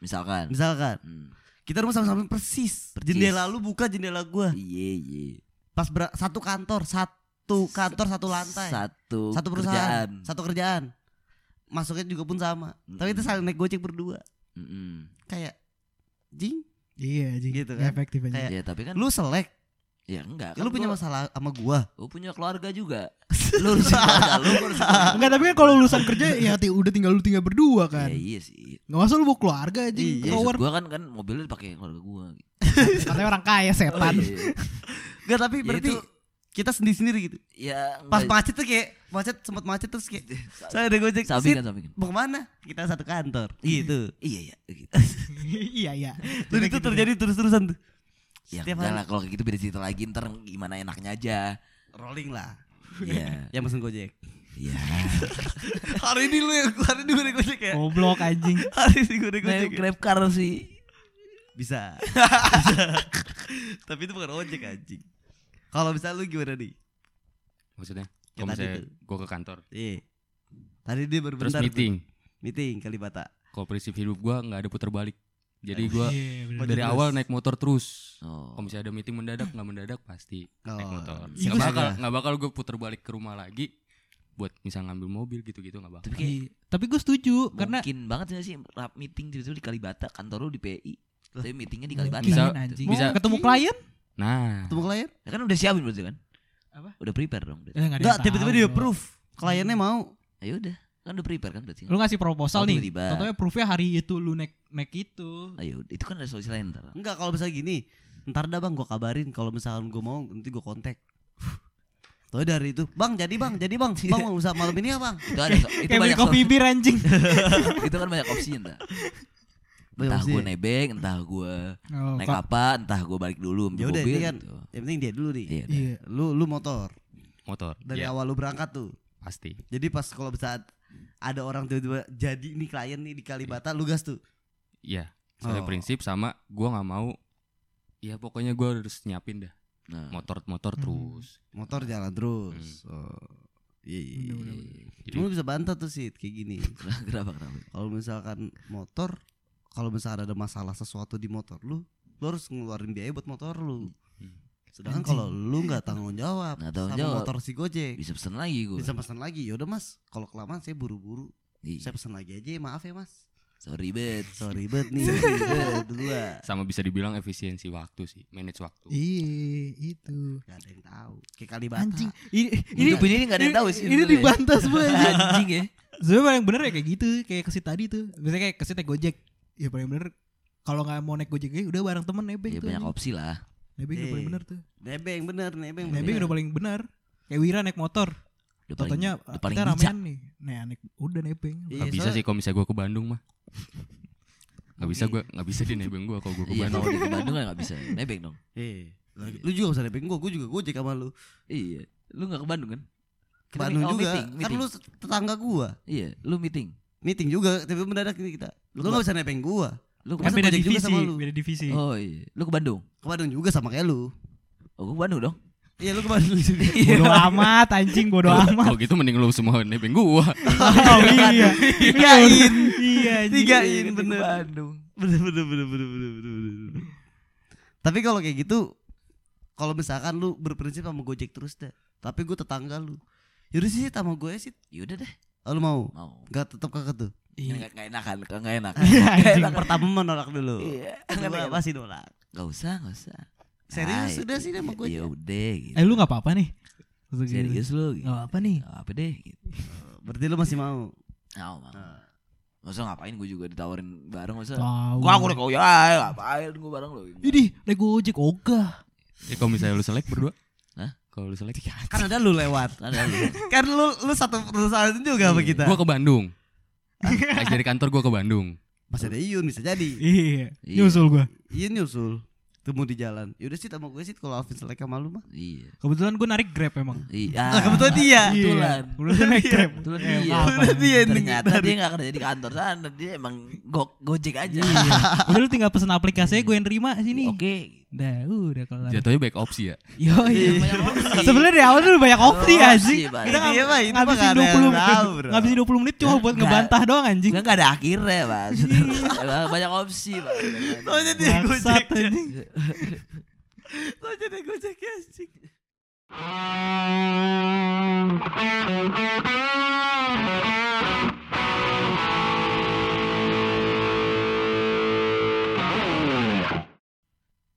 [SPEAKER 3] Misalkan.
[SPEAKER 2] misalkan
[SPEAKER 3] Hmm.
[SPEAKER 2] kita rumah samping-samping persis.
[SPEAKER 3] Persis.
[SPEAKER 2] Jendela lu buka jendela gua.
[SPEAKER 3] Iya iya.
[SPEAKER 2] Pas ber- satu kantor, satu kantor satu lantai.
[SPEAKER 3] Satu.
[SPEAKER 2] satu perusahaan,
[SPEAKER 3] kerjaan.
[SPEAKER 2] satu kerjaan. Masuknya juga pun sama. Tapi kita saling naik gojek berdua.
[SPEAKER 3] Mm-mm.
[SPEAKER 2] Kayak jing,
[SPEAKER 1] Iya, anjing.
[SPEAKER 2] Gitu kan.
[SPEAKER 1] Nggak efektif aja.
[SPEAKER 2] Kayak-
[SPEAKER 3] Ya tapi kan.
[SPEAKER 2] lu selek.
[SPEAKER 3] Ya enggak.
[SPEAKER 2] Lu punya masalah sama gua.
[SPEAKER 3] Lu punya keluarga juga. lu urusin keluarga lu. gua urusin keluarga.
[SPEAKER 1] Enggak, tapi kan kalau lulusan kerja ya ti- udah tinggal lu tinggal berdua kan.
[SPEAKER 3] Ya, iya sih.
[SPEAKER 1] Enggak masa lu bawa keluarga aja
[SPEAKER 2] Iya.
[SPEAKER 3] Ya,
[SPEAKER 1] Power.
[SPEAKER 3] maksud gua kan kan mobilnya dipakai keluarga gua. gitu.
[SPEAKER 1] Katanya orang kaya setan.
[SPEAKER 3] Iya, iya.
[SPEAKER 2] Enggak, tapi
[SPEAKER 3] Ya,
[SPEAKER 2] berarti
[SPEAKER 3] itu-
[SPEAKER 2] kita sendiri-sendiri gitu.
[SPEAKER 3] Ya.
[SPEAKER 2] Pas
[SPEAKER 3] enggak.
[SPEAKER 2] macet tuh kayak macet sempat macet terus kayak saya ada gojek. Sit,
[SPEAKER 3] Sampingan sampingan.
[SPEAKER 2] mau kemana? Kita satu kantor. Gitu.
[SPEAKER 3] kan, Iya gitu iya. gitu.
[SPEAKER 1] iya, iya.
[SPEAKER 2] Dan itu terjadi terus-terusan tuh.
[SPEAKER 3] Ya
[SPEAKER 2] Setiap
[SPEAKER 3] enggak
[SPEAKER 2] hari.
[SPEAKER 3] lah kalau kayak gitu beda cerita lagi ntar gimana enaknya aja.
[SPEAKER 2] Rolling lah.
[SPEAKER 3] Iya.
[SPEAKER 2] Yang pesen gojek.
[SPEAKER 3] Iya.
[SPEAKER 2] hari ini lu yang hari ini gue naik gojek ya.
[SPEAKER 1] Goblok anjing.
[SPEAKER 2] Hari ini gue naik
[SPEAKER 3] Nah,
[SPEAKER 2] gojek. ya?
[SPEAKER 3] grab car sih.
[SPEAKER 2] Bisa. Tapi itu bukan ojek anjing. Kalau misalnya lu gimana nih?
[SPEAKER 4] Maksudnya?
[SPEAKER 2] Kayak
[SPEAKER 4] Kalau
[SPEAKER 2] Ya tadi
[SPEAKER 4] misalnya
[SPEAKER 2] tuh.
[SPEAKER 4] gue ke kantor.
[SPEAKER 2] Iya. Tadi dia baru
[SPEAKER 4] Terus
[SPEAKER 2] bentar tuh.
[SPEAKER 4] meeting.
[SPEAKER 2] Meeting Kalibata.
[SPEAKER 4] Kalau prinsip hidup gue nggak ada putar balik. Jadi gue
[SPEAKER 1] Iya, bener.
[SPEAKER 4] dari
[SPEAKER 2] Oh, terus.
[SPEAKER 4] awal naik motor terus.
[SPEAKER 3] Oh.
[SPEAKER 4] Kalau misalnya ada meeting mendadak nggak mendadak pasti naik
[SPEAKER 2] Oh,
[SPEAKER 4] motor.
[SPEAKER 2] itu
[SPEAKER 4] Nggak bakal
[SPEAKER 2] sih.
[SPEAKER 4] nggak bakal gue putar balik ke rumah lagi buat misal ngambil mobil gitu-gitu nggak bakal.
[SPEAKER 3] Tapi kayak
[SPEAKER 1] Iya. Tapi gue setuju karena
[SPEAKER 3] mungkin banget nggak sih rap meeting tiba-tiba di Kalibata kantor lu di PI tapi meetingnya di Kalibata
[SPEAKER 1] Mungkin,
[SPEAKER 4] Bisa-
[SPEAKER 1] anjing.
[SPEAKER 4] bisa-
[SPEAKER 1] Mau ketemu
[SPEAKER 3] Eh,
[SPEAKER 1] klien?
[SPEAKER 4] Nah,
[SPEAKER 2] Ketemu klien?
[SPEAKER 3] Ya kan udah siapin berarti kan
[SPEAKER 1] Apa?
[SPEAKER 3] udah prepare dong berarti.
[SPEAKER 1] Eh, nggak ada
[SPEAKER 2] Enggak,
[SPEAKER 1] yang tahu,
[SPEAKER 2] tiba-tiba
[SPEAKER 1] Hmm.
[SPEAKER 2] dia
[SPEAKER 1] bro.
[SPEAKER 2] approve. Kliennya mau.
[SPEAKER 3] ayo udah kan udah prepare kan berarti
[SPEAKER 1] Lu ngasih proposal
[SPEAKER 3] Oh,
[SPEAKER 1] nih.
[SPEAKER 3] tiba-tiba.
[SPEAKER 1] Contohnya proofnya hari itu lu naik naik itu.
[SPEAKER 3] ayo itu kan ada solusi lain ntar
[SPEAKER 2] Enggak, kalau misalnya gini, ntar dah Bang gua kabarin kalau misalkan gua mau nanti gua kontak. Tuh dari itu, Bang, jadi Bang, jadi Bang. Bang mau usaha malam ini ya, Bang?
[SPEAKER 3] itu ada so- itu
[SPEAKER 1] Kayak beli
[SPEAKER 3] banyak
[SPEAKER 1] kopi bir anjing.
[SPEAKER 3] solusi. itu kan banyak opsi ntar
[SPEAKER 2] Banyak
[SPEAKER 3] entah
[SPEAKER 2] opsi.
[SPEAKER 3] gue nebeng entah gue
[SPEAKER 1] Oh,
[SPEAKER 3] naik
[SPEAKER 1] kok-
[SPEAKER 3] apa entah gue balik dulu ambil
[SPEAKER 2] Ya udah,
[SPEAKER 3] mobil
[SPEAKER 2] ini kan
[SPEAKER 3] gitu.
[SPEAKER 2] yang penting dia dulu nih.
[SPEAKER 3] iya udah.
[SPEAKER 1] Iya.
[SPEAKER 2] Lu lu motor.
[SPEAKER 4] motor.
[SPEAKER 2] Dari
[SPEAKER 4] Iya,
[SPEAKER 2] awal lu berangkat tuh.
[SPEAKER 4] pasti.
[SPEAKER 2] Jadi pas kalau saat ada orang tiba-tiba jadi nih klien nih di Kalibata lu gas tuh.
[SPEAKER 4] Iya. Soalnya
[SPEAKER 2] Oh.
[SPEAKER 4] prinsip sama gue nggak mau. Ya pokoknya gue harus nyiapin dah
[SPEAKER 3] nah,
[SPEAKER 4] motor-motor
[SPEAKER 1] Hmm.
[SPEAKER 4] terus.
[SPEAKER 2] Motor jalan terus.
[SPEAKER 3] Hmm.
[SPEAKER 2] Oh. Iya, iya, iya.
[SPEAKER 1] Bener-bener.
[SPEAKER 4] Jadi
[SPEAKER 2] Cuma lu bisa bantah tuh sih kayak gini.
[SPEAKER 3] kenapa kenapa
[SPEAKER 2] Kalau misalkan motor, kalau misalkan ada masalah sesuatu di motor lu, lu harus ngeluarin biaya buat motor lu.
[SPEAKER 4] Hmm.
[SPEAKER 2] Sedangkan kalau lu nggak tanggung jawab
[SPEAKER 3] Nggak tanggung
[SPEAKER 2] sama
[SPEAKER 3] jawab. Iya.
[SPEAKER 2] motor si Gojek,
[SPEAKER 3] bisa pesen lagi gue
[SPEAKER 2] Eh, bisa pesan lagi. Yaudah mas, kalau kelamaan saya buru-buru,
[SPEAKER 3] Iya.
[SPEAKER 2] saya pesan lagi aja. Maaf ya mas.
[SPEAKER 3] sorry bet
[SPEAKER 2] Sorry banget nih ribet berdua.
[SPEAKER 4] sama bisa dibilang efisiensi waktu sih, manage waktu.
[SPEAKER 1] Iya, itu.
[SPEAKER 2] Gak ada yang tahu. Kayak Kalibata.
[SPEAKER 1] Anjing. Ini ini
[SPEAKER 3] hidup ini nggak ada yang tahu sih ya.
[SPEAKER 1] Ini
[SPEAKER 3] sebenarnya.
[SPEAKER 1] dibantah semua anjing.
[SPEAKER 3] anjing ya
[SPEAKER 1] Sebenernya paling bener ya kayak gitu Kayak kesit tadi tuh Biasanya kayak kesit naik gojek Ya paling bener Kalau gak mau naik gojek ya Udah bareng temen nebeng
[SPEAKER 3] ya
[SPEAKER 1] tuh
[SPEAKER 3] banyak
[SPEAKER 1] anjing.
[SPEAKER 3] opsi Iya. lah
[SPEAKER 1] Nebeng udah
[SPEAKER 2] Eh,
[SPEAKER 1] paling bener tuh
[SPEAKER 2] Nebeng bener, nebeng.
[SPEAKER 1] Nebeng udah paling bener Kayak Wira naik motor
[SPEAKER 3] udah paling,
[SPEAKER 1] Totonya
[SPEAKER 3] udah paling
[SPEAKER 1] kita
[SPEAKER 3] bijak
[SPEAKER 1] ramean nih Nah naik udah nebeng
[SPEAKER 2] Iya,
[SPEAKER 4] Gak bisa
[SPEAKER 2] soalnya-
[SPEAKER 4] sih kalau misalnya gue ke Bandung mah. Gak bisa
[SPEAKER 2] Oke.
[SPEAKER 4] gue, gak bisa di nebeng gue kalau gue ke
[SPEAKER 3] iya
[SPEAKER 4] Bandung.
[SPEAKER 3] kalau di Bandung kan nggak bisa nebeng dong
[SPEAKER 2] Eh, lu juga bisa nebeng gua, gua juga gojek sama lu.
[SPEAKER 3] Iya. Lu gak ke Bandung kan?
[SPEAKER 2] Ke
[SPEAKER 3] Kita
[SPEAKER 2] Bandung
[SPEAKER 3] meet- oh,
[SPEAKER 2] juga.
[SPEAKER 3] Meeting,
[SPEAKER 2] Kan
[SPEAKER 3] meeting.
[SPEAKER 2] lu tetangga gua.
[SPEAKER 3] Iya, lu meeting.
[SPEAKER 2] Meeting juga, tapi mendadak ini kita. Lu
[SPEAKER 3] Lu
[SPEAKER 2] gak bisa nebeng gua.
[SPEAKER 3] Lu ke
[SPEAKER 1] Kan
[SPEAKER 2] Masa
[SPEAKER 1] beda
[SPEAKER 2] gojek juga
[SPEAKER 1] divisi
[SPEAKER 2] sama lu?
[SPEAKER 1] Beda divisi
[SPEAKER 3] Oh iya. Lu ke Bandung.
[SPEAKER 2] Ke Bandung juga sama kayak lu.
[SPEAKER 3] Oh, gua ke Bandung dong.
[SPEAKER 2] Iya, lu ke Bandung juga.
[SPEAKER 1] Bodo amat anjing bodo amat
[SPEAKER 4] Kalau gitu mending lu semua nebeng gue.
[SPEAKER 1] Oh iya Tigain Iya anjing
[SPEAKER 2] Tigain
[SPEAKER 3] Iya,
[SPEAKER 2] bener.
[SPEAKER 3] ke Bandung.
[SPEAKER 2] Bener bener bener bener bener bener. bener. Tapi kalau kayak gitu kalau misalkan lu berprinsip sama Gojek terus deh. Tapi gua tetangga lu. Yaudah sih sama gue sih.
[SPEAKER 3] Yaudah Ya deh,
[SPEAKER 2] Oh, lu mau?
[SPEAKER 3] mau.
[SPEAKER 2] Gak tetap kakak tuh.
[SPEAKER 1] Iya
[SPEAKER 3] Enggak enak kan, enggak enak.
[SPEAKER 1] anjing
[SPEAKER 2] Yang pertama menolak dulu.
[SPEAKER 3] Iya.
[SPEAKER 2] Kedua masih nolak.
[SPEAKER 3] Enggak usah, enggak usah.
[SPEAKER 2] Serius
[SPEAKER 3] Ay,
[SPEAKER 2] udah sih deh sama Gojek.
[SPEAKER 3] Ya udah gitu.
[SPEAKER 1] Eh lu gak apa-apa nih Maksud gitu.
[SPEAKER 3] Serius lu gitu.
[SPEAKER 1] Gak apa-apa nih
[SPEAKER 3] Nggak apa deh gitu.
[SPEAKER 2] Berarti lu masih mau.
[SPEAKER 3] Mau, mau.
[SPEAKER 2] Nah.
[SPEAKER 3] Nggak usah ngapain gue juga ditawarin bareng masa.
[SPEAKER 1] Tahu.
[SPEAKER 3] Gua aku udah kau ya, ay, ngapain gue bareng lu.
[SPEAKER 1] Ini naik gojek ogah
[SPEAKER 4] Ya kalau misalnya lu selek berdua.
[SPEAKER 3] Hah?
[SPEAKER 4] Kalau lu selek.
[SPEAKER 2] Kan ada lu lewat.
[SPEAKER 3] Ada lu.
[SPEAKER 2] kan lu lu satu perusahaan juga sama kita.
[SPEAKER 4] Gue ke Bandung. Habis dari kantor gue ke Bandung.
[SPEAKER 2] Masih ada Iyun bisa jadi.
[SPEAKER 1] Iya
[SPEAKER 3] Iya.
[SPEAKER 1] Nyusul gua
[SPEAKER 2] Iyun nyusul temu di jalan. Yaudah sih sama gue sih kalau Alvin selek sama lu mah.
[SPEAKER 3] Iya.
[SPEAKER 1] Kebetulan gue narik Grab emang.
[SPEAKER 3] Iya.
[SPEAKER 2] Lah kebetulan dia.
[SPEAKER 3] Kebetulan.
[SPEAKER 1] Udah naik Grab.
[SPEAKER 3] Kebetulan
[SPEAKER 1] Eh,
[SPEAKER 3] dia.
[SPEAKER 1] maaf,
[SPEAKER 2] Kebetulan
[SPEAKER 1] Bang.
[SPEAKER 2] dia yang
[SPEAKER 3] Ternyata
[SPEAKER 2] dari-
[SPEAKER 3] dia gak kerja di kantor sana Dia emang go gojek aja
[SPEAKER 1] Iya. Udah lu tinggal pesen aplikasinya gue yang terima sini.
[SPEAKER 3] Oke
[SPEAKER 1] Dah, udah kelar.
[SPEAKER 4] Jatuhnya back opsi ya.
[SPEAKER 1] Yo,
[SPEAKER 3] Banyak opsi.
[SPEAKER 1] Oh, iya. Sebenarnya dari awal tuh banyak opsi
[SPEAKER 3] Opsi,
[SPEAKER 1] anjing.
[SPEAKER 3] Bang.
[SPEAKER 1] Kita
[SPEAKER 2] Iya, Bang, itu mah
[SPEAKER 1] ngabisin
[SPEAKER 2] nggak ada yang
[SPEAKER 1] 20
[SPEAKER 2] tahu, bro.
[SPEAKER 1] ngabisin 20 menit cuma buat
[SPEAKER 3] Nggak.
[SPEAKER 1] ngebantah doang anjing.
[SPEAKER 3] Enggak ada akhirnya, Mas. Emang banyak opsi, Mas.
[SPEAKER 2] Soalnya dia
[SPEAKER 1] Bangsat
[SPEAKER 2] gojek.
[SPEAKER 1] anjing.
[SPEAKER 2] Soalnya dia gojek ya, anjing.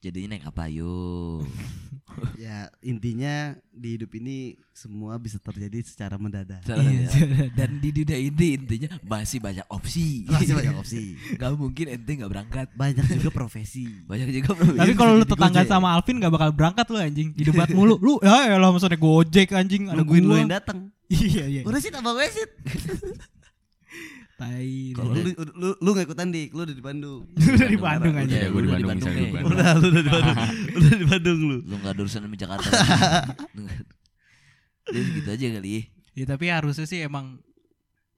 [SPEAKER 3] Jadinya naik apa yuk?
[SPEAKER 2] Ya, intinya di hidup ini semua bisa terjadi secara mendadak.
[SPEAKER 1] Iya.
[SPEAKER 3] ya.
[SPEAKER 2] Iya.
[SPEAKER 3] Dan di dunia ini intinya masih banyak opsi.
[SPEAKER 2] Masih banyak opsi.
[SPEAKER 3] Gak mungkin ente gak berangkat.
[SPEAKER 2] Banyak juga profesi.
[SPEAKER 3] Banyak juga bro.
[SPEAKER 2] Iya,
[SPEAKER 1] Tapi kalau lu tetangga sama Alvin gak bakal berangkat lu anjing. Di debat mulu. Lu ya elah maksudnya gojek anjing ada
[SPEAKER 2] Nungguin lu
[SPEAKER 1] gua.
[SPEAKER 2] yang datang.
[SPEAKER 1] Iya iya.
[SPEAKER 2] Udah sih tambah gue sih.
[SPEAKER 1] Tai.
[SPEAKER 2] Kalau lu, lu lu nggak ikutan dik, lu udah di Bandung.
[SPEAKER 1] Lu dari Bandung
[SPEAKER 3] Bandung,
[SPEAKER 1] anjing.
[SPEAKER 4] Iya, gue di
[SPEAKER 3] Lu
[SPEAKER 4] Bandung misalnya gue di
[SPEAKER 2] ya.
[SPEAKER 4] Bandung.
[SPEAKER 2] Udah, lu udah di Bandung. udah di Bandung lu.
[SPEAKER 3] Lu gak ada urusan sama Jakarta. Jadi gitu aja kali ya.
[SPEAKER 1] Ya tapi harusnya sih emang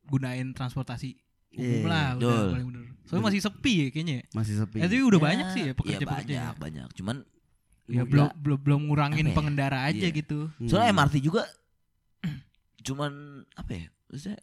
[SPEAKER 1] gunain transportasi umum
[SPEAKER 2] Iya,
[SPEAKER 1] lah udah
[SPEAKER 3] betul.
[SPEAKER 1] paling bener. Soalnya masih sepi ya kayaknya.
[SPEAKER 2] Masih sepi.
[SPEAKER 1] Ya, tapi udah
[SPEAKER 3] Ya,
[SPEAKER 1] banyak sih ya
[SPEAKER 3] Iya
[SPEAKER 1] pekerja-pekerja.
[SPEAKER 3] banyak, banyak. Cuman
[SPEAKER 1] Ya,
[SPEAKER 3] gua
[SPEAKER 1] belum belum belum ngurangin
[SPEAKER 3] Iya, Apa ya?
[SPEAKER 1] pengendara aja
[SPEAKER 3] Iya.
[SPEAKER 1] gitu.
[SPEAKER 2] Hmm.
[SPEAKER 3] Soalnya MRT juga cuman apa ya? Maksudnya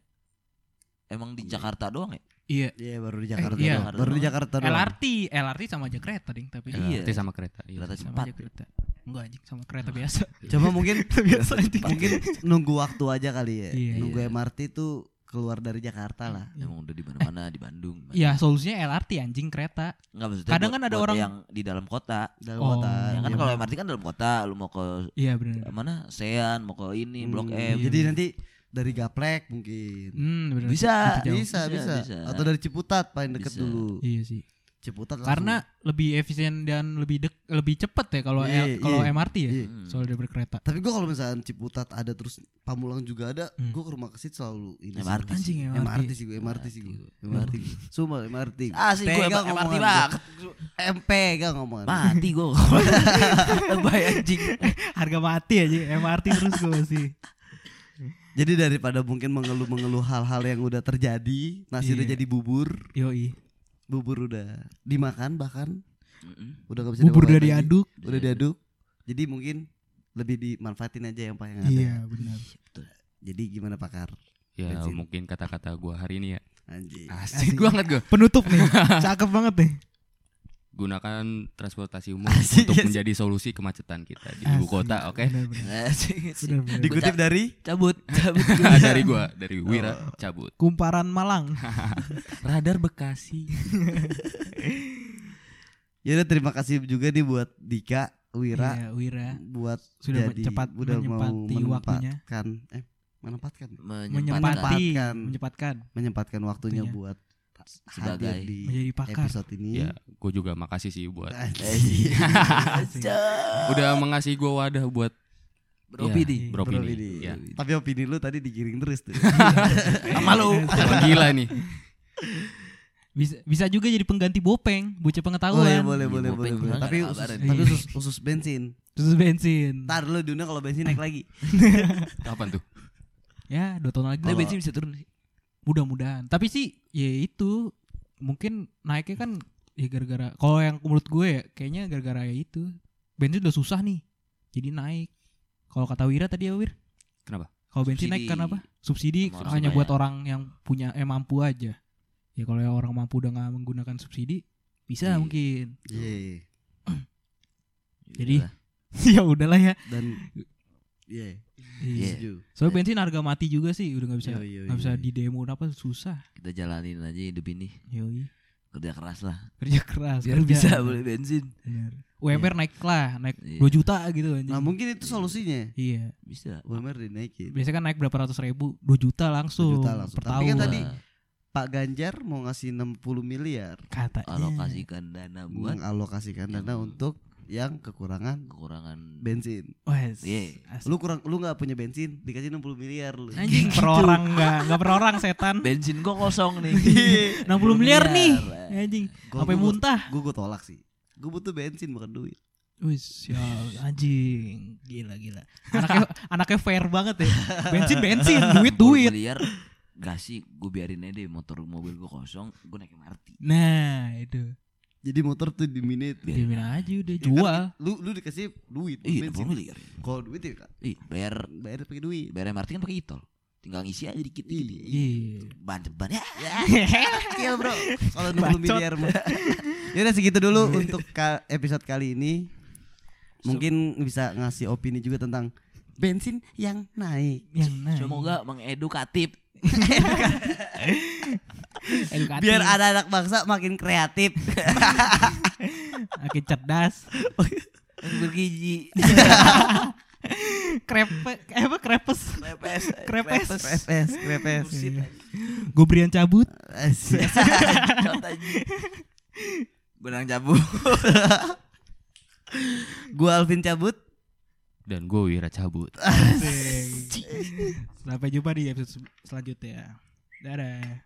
[SPEAKER 3] emang di Jakarta doang ya?
[SPEAKER 1] Iya.
[SPEAKER 2] Iya, baru di Jakarta.
[SPEAKER 1] iya.
[SPEAKER 2] doang. Baru di Jakarta. doang.
[SPEAKER 1] LRT, LRT sama aja kereta ding tapi.
[SPEAKER 3] Iya.
[SPEAKER 4] Nanti sama kereta. Iya.
[SPEAKER 3] Kereta
[SPEAKER 1] Sama
[SPEAKER 3] cepat.
[SPEAKER 1] aja kereta. Enggak anjing sama kereta biasa.
[SPEAKER 2] Coba mungkin
[SPEAKER 1] biasa anjing.
[SPEAKER 2] mungkin nunggu waktu aja kali ya.
[SPEAKER 1] Iya.
[SPEAKER 2] nunggu MRT tuh keluar dari Jakarta lah.
[SPEAKER 3] Emang udah di mana-mana di Bandung.
[SPEAKER 1] Ya solusinya LRT anjing kereta.
[SPEAKER 3] Enggak maksudnya
[SPEAKER 1] Kadang
[SPEAKER 3] buat-
[SPEAKER 1] kan ada
[SPEAKER 3] buat
[SPEAKER 1] orang-
[SPEAKER 3] yang di dalam kota.
[SPEAKER 2] Dalam
[SPEAKER 1] Oh,
[SPEAKER 2] kota.
[SPEAKER 1] ya
[SPEAKER 3] Ya kan
[SPEAKER 2] Iya,
[SPEAKER 3] kalau
[SPEAKER 2] Bang.
[SPEAKER 3] MRT kan dalam kota, lu mau ke
[SPEAKER 1] Iya benar.
[SPEAKER 3] mana? Sean, mau ke ini, Blok
[SPEAKER 2] Hmm,
[SPEAKER 1] Iya,
[SPEAKER 3] M.
[SPEAKER 2] Jadi nanti dari Gaplek mungkin. Ah,
[SPEAKER 1] Hmm, bener.
[SPEAKER 3] Bisa,
[SPEAKER 1] Tapi jauh.
[SPEAKER 2] Bisa,
[SPEAKER 3] Bisa,
[SPEAKER 2] bisa,
[SPEAKER 3] bisa.
[SPEAKER 2] Atau dari Ciputat paling deket
[SPEAKER 3] Bisa.
[SPEAKER 2] dulu.
[SPEAKER 1] Iya sih.
[SPEAKER 2] Ciputat langsung.
[SPEAKER 1] Karena lebih efisien dan lebih dek, lebih cepet ya kalau
[SPEAKER 2] Iya,
[SPEAKER 1] L- kalau
[SPEAKER 2] iya.
[SPEAKER 1] MRT ya.
[SPEAKER 2] Iya.
[SPEAKER 3] Hmm.
[SPEAKER 1] Soalnya daripada kereta.
[SPEAKER 2] Tapi gue kalau misalkan Ciputat ada terus Pamulang juga ada,
[SPEAKER 1] Hmm.
[SPEAKER 2] gue ke rumah kesit selalu ini. sih.
[SPEAKER 3] MRT.
[SPEAKER 1] Anjing
[SPEAKER 2] MRT.
[SPEAKER 1] MRT.
[SPEAKER 2] sih gue, MRT sih gue. MRT. Sumpah MRT.
[SPEAKER 3] Ah sih gue
[SPEAKER 2] Pegang
[SPEAKER 3] emang MRT
[SPEAKER 2] omongan
[SPEAKER 3] banget.
[SPEAKER 2] gua. Em, pegang omongan.
[SPEAKER 3] Mati gue. Lebay anjing.
[SPEAKER 1] Harga mati aja MRT terus gue masih.
[SPEAKER 2] Jadi daripada mungkin mengeluh-mengeluh hal-hal yang udah terjadi, nasi
[SPEAKER 1] Iya.
[SPEAKER 2] udah jadi bubur,
[SPEAKER 1] Yoi.
[SPEAKER 2] bubur udah dimakan bahkan
[SPEAKER 3] Mm-mm.
[SPEAKER 2] udah gak bisa
[SPEAKER 1] Bubur
[SPEAKER 2] dimakan
[SPEAKER 1] udah
[SPEAKER 2] lagi.
[SPEAKER 1] diaduk.
[SPEAKER 2] udah diaduk. Jadi mungkin lebih dimanfaatin aja yang paling ada.
[SPEAKER 1] Iya benar.
[SPEAKER 2] Jadi gimana pakar?
[SPEAKER 4] Ya
[SPEAKER 2] Bensin. Iya.
[SPEAKER 4] mungkin kata-kata gue hari ini ya.
[SPEAKER 2] Anjing.
[SPEAKER 4] Asik banget gue.
[SPEAKER 1] Penutup nih. Cakep banget nih.
[SPEAKER 4] Gunakan transportasi umum
[SPEAKER 2] Asik,
[SPEAKER 4] untuk
[SPEAKER 2] asik.
[SPEAKER 4] menjadi solusi kemacetan kita di ibu kota, oke?
[SPEAKER 1] Benar-benar.
[SPEAKER 3] Asik, asik.
[SPEAKER 1] Benar-benar.
[SPEAKER 2] Dikutip dari
[SPEAKER 3] Cabut, cabut.
[SPEAKER 4] dari gua, dari Wira cabut.
[SPEAKER 1] Kumparan Malang.
[SPEAKER 4] Radar Bekasi.
[SPEAKER 2] Ya udah terima kasih juga nih buat Dika, Wira,
[SPEAKER 1] Iya, Wira.
[SPEAKER 2] buat
[SPEAKER 1] Sudah
[SPEAKER 2] jadi
[SPEAKER 1] cepat
[SPEAKER 2] udah mau
[SPEAKER 1] menyempati waktunya.
[SPEAKER 2] menempatkan eh menempatkan
[SPEAKER 3] Menyempatkan
[SPEAKER 1] Menyempati,
[SPEAKER 2] Menyempatkan.
[SPEAKER 1] menyempatkan
[SPEAKER 2] menyempatkan waktunya
[SPEAKER 1] Waktunya.
[SPEAKER 2] buat
[SPEAKER 3] Sebagai Iya.
[SPEAKER 2] hadir di
[SPEAKER 1] menjadi pakar.
[SPEAKER 2] episode ini.
[SPEAKER 4] ya,
[SPEAKER 3] Hmm.
[SPEAKER 4] gua juga makasih sih buat
[SPEAKER 3] Nah.
[SPEAKER 2] Anjing.
[SPEAKER 4] udah mengasih gua wadah buat ya,
[SPEAKER 3] Beropi di.
[SPEAKER 4] beropini.
[SPEAKER 2] Beropini. Iya.
[SPEAKER 3] iya.
[SPEAKER 4] Ya.
[SPEAKER 2] Tapi opini lu tadi digiring terus tuh.
[SPEAKER 3] Sama lu.
[SPEAKER 4] Emang gila nih.
[SPEAKER 1] Bisa, bisa juga jadi pengganti Bopeng, bocah pengetahuan.
[SPEAKER 2] boleh, boleh,
[SPEAKER 3] Iya,
[SPEAKER 2] boleh,
[SPEAKER 3] Bopeng
[SPEAKER 2] boleh,
[SPEAKER 3] juga
[SPEAKER 2] boleh.
[SPEAKER 3] nggak
[SPEAKER 2] Tapi
[SPEAKER 3] ada
[SPEAKER 2] usus,
[SPEAKER 3] kabaran.
[SPEAKER 2] tapi usus, usus bensin.
[SPEAKER 1] Terus bensin.
[SPEAKER 2] Ntar lu dunia kalau bensin naik lagi.
[SPEAKER 4] Kapan tuh?
[SPEAKER 1] Ya, dua tahun lagi.
[SPEAKER 3] Tapi
[SPEAKER 1] Tapi
[SPEAKER 3] bensin bisa turun sih.
[SPEAKER 1] Mudah-mudahan. Tapi sih, ya itu mungkin naiknya kan ya gara-gara. Kalau yang menurut gue ya, kayaknya gara-gara ya itu. Bensin udah susah nih, jadi naik. Kalau kata Wira tadi ya Wir.
[SPEAKER 4] Kenapa?
[SPEAKER 1] Kalau bensin
[SPEAKER 3] Subsidi.
[SPEAKER 1] naik karena apa? Subsidi
[SPEAKER 3] Sama orang
[SPEAKER 1] hanya
[SPEAKER 3] kaya.
[SPEAKER 1] buat orang yang punya eh mampu aja. Ya kalau yang orang mampu udah nggak menggunakan subsidi, bisa
[SPEAKER 3] Iya.
[SPEAKER 1] mungkin.
[SPEAKER 2] Iya.
[SPEAKER 1] Jadi- ya udahlah ya.
[SPEAKER 2] Dan Iya,
[SPEAKER 1] Iya.
[SPEAKER 2] setuju. Iya,
[SPEAKER 1] Soalnya bensin harga mati juga sih, udah nggak bisa
[SPEAKER 2] Yoi, yoi,
[SPEAKER 1] nggak bisa
[SPEAKER 2] yoi.
[SPEAKER 1] di demo apa susah.
[SPEAKER 3] kita jalanin aja hidup ini.
[SPEAKER 1] Yoi.
[SPEAKER 3] Kerja keras lah.
[SPEAKER 1] Kerja keras.
[SPEAKER 3] Biar
[SPEAKER 1] kerja.
[SPEAKER 3] bisa beli bensin.
[SPEAKER 1] Bener. UMR naik lah, naik
[SPEAKER 3] Iya.
[SPEAKER 1] 2 juta gitu anjing.
[SPEAKER 2] Nah, mungkin itu solusinya.
[SPEAKER 1] Iya.
[SPEAKER 3] Bisa.
[SPEAKER 2] UMR dinaikin.
[SPEAKER 1] Biasanya kan naik berapa ratus ribu, 2 juta langsung,
[SPEAKER 2] 2 juta langsung.
[SPEAKER 1] per
[SPEAKER 2] Tapi
[SPEAKER 1] tahun.
[SPEAKER 2] kan tadi Pak Ganjar mau ngasih 60 miliar
[SPEAKER 3] Iya.
[SPEAKER 1] katanya. Iya.
[SPEAKER 3] Alokasikan dana buat
[SPEAKER 2] mengalokasikan dana
[SPEAKER 3] Yang-
[SPEAKER 2] untuk yang kekurangan
[SPEAKER 3] kekurangan
[SPEAKER 2] bensin.
[SPEAKER 1] Wes.
[SPEAKER 3] Iya.
[SPEAKER 1] asli.
[SPEAKER 2] Lu kurang lu nggak punya bensin, dikasih 60 miliar lu.
[SPEAKER 1] Anjing per orang enggak, enggak per orang setan.
[SPEAKER 3] bensin gua kosong nih.
[SPEAKER 1] 60 miliar nih.
[SPEAKER 3] eh.
[SPEAKER 1] Anjing,
[SPEAKER 2] Gua-
[SPEAKER 1] sampai
[SPEAKER 2] gua-
[SPEAKER 1] muntah.
[SPEAKER 2] Gua gua tolak sih. Gua butuh bensin bukan duit.
[SPEAKER 1] Wis, ya anjing. Gila gila. Anaknya anaknya fair banget ya. Bensin bensin, duit duit.
[SPEAKER 3] 60 miliar gak sih gue biarin aja deh motor mobil gue kosong gue naik MRT
[SPEAKER 1] Nah, itu.
[SPEAKER 2] Jadi motor tuh diminit.
[SPEAKER 1] Diamin aja udah jual.
[SPEAKER 2] Lu lu dikasih duit.
[SPEAKER 3] Iya,
[SPEAKER 2] bensin.
[SPEAKER 3] 20 miliar.
[SPEAKER 2] Kalau duit ya kan
[SPEAKER 3] Iya, bayar
[SPEAKER 2] bayar pakai duit.
[SPEAKER 3] bayar MRT kan pakai e-tol. Tinggal ngisi aja dikit dikit.
[SPEAKER 1] Iya.
[SPEAKER 3] Ban ban ya.
[SPEAKER 2] Iya bro, kalau 60 miliar mah. Yaudah segitu dulu untuk ka- episode kali ini. Mungkin bisa ngasih opini juga tentang bensin yang naik.
[SPEAKER 1] Yang nah.
[SPEAKER 3] Semoga mengedukatif.
[SPEAKER 1] edukatif,
[SPEAKER 2] Biar anak-anak bangsa makin kreatif.
[SPEAKER 1] makin cerdas.
[SPEAKER 3] Bergiji.
[SPEAKER 1] Krepe, eh apa krepes?
[SPEAKER 3] Krepes.
[SPEAKER 1] Krepes.
[SPEAKER 2] Krepes, krepes.
[SPEAKER 1] Gobrian cabut.
[SPEAKER 2] Asik.
[SPEAKER 3] Benang jabu.
[SPEAKER 2] Gua Alvin cabut.
[SPEAKER 4] Dan gue Wira cabut.
[SPEAKER 1] Sampai jumpa di episode sel- selanjutnya. Dadah.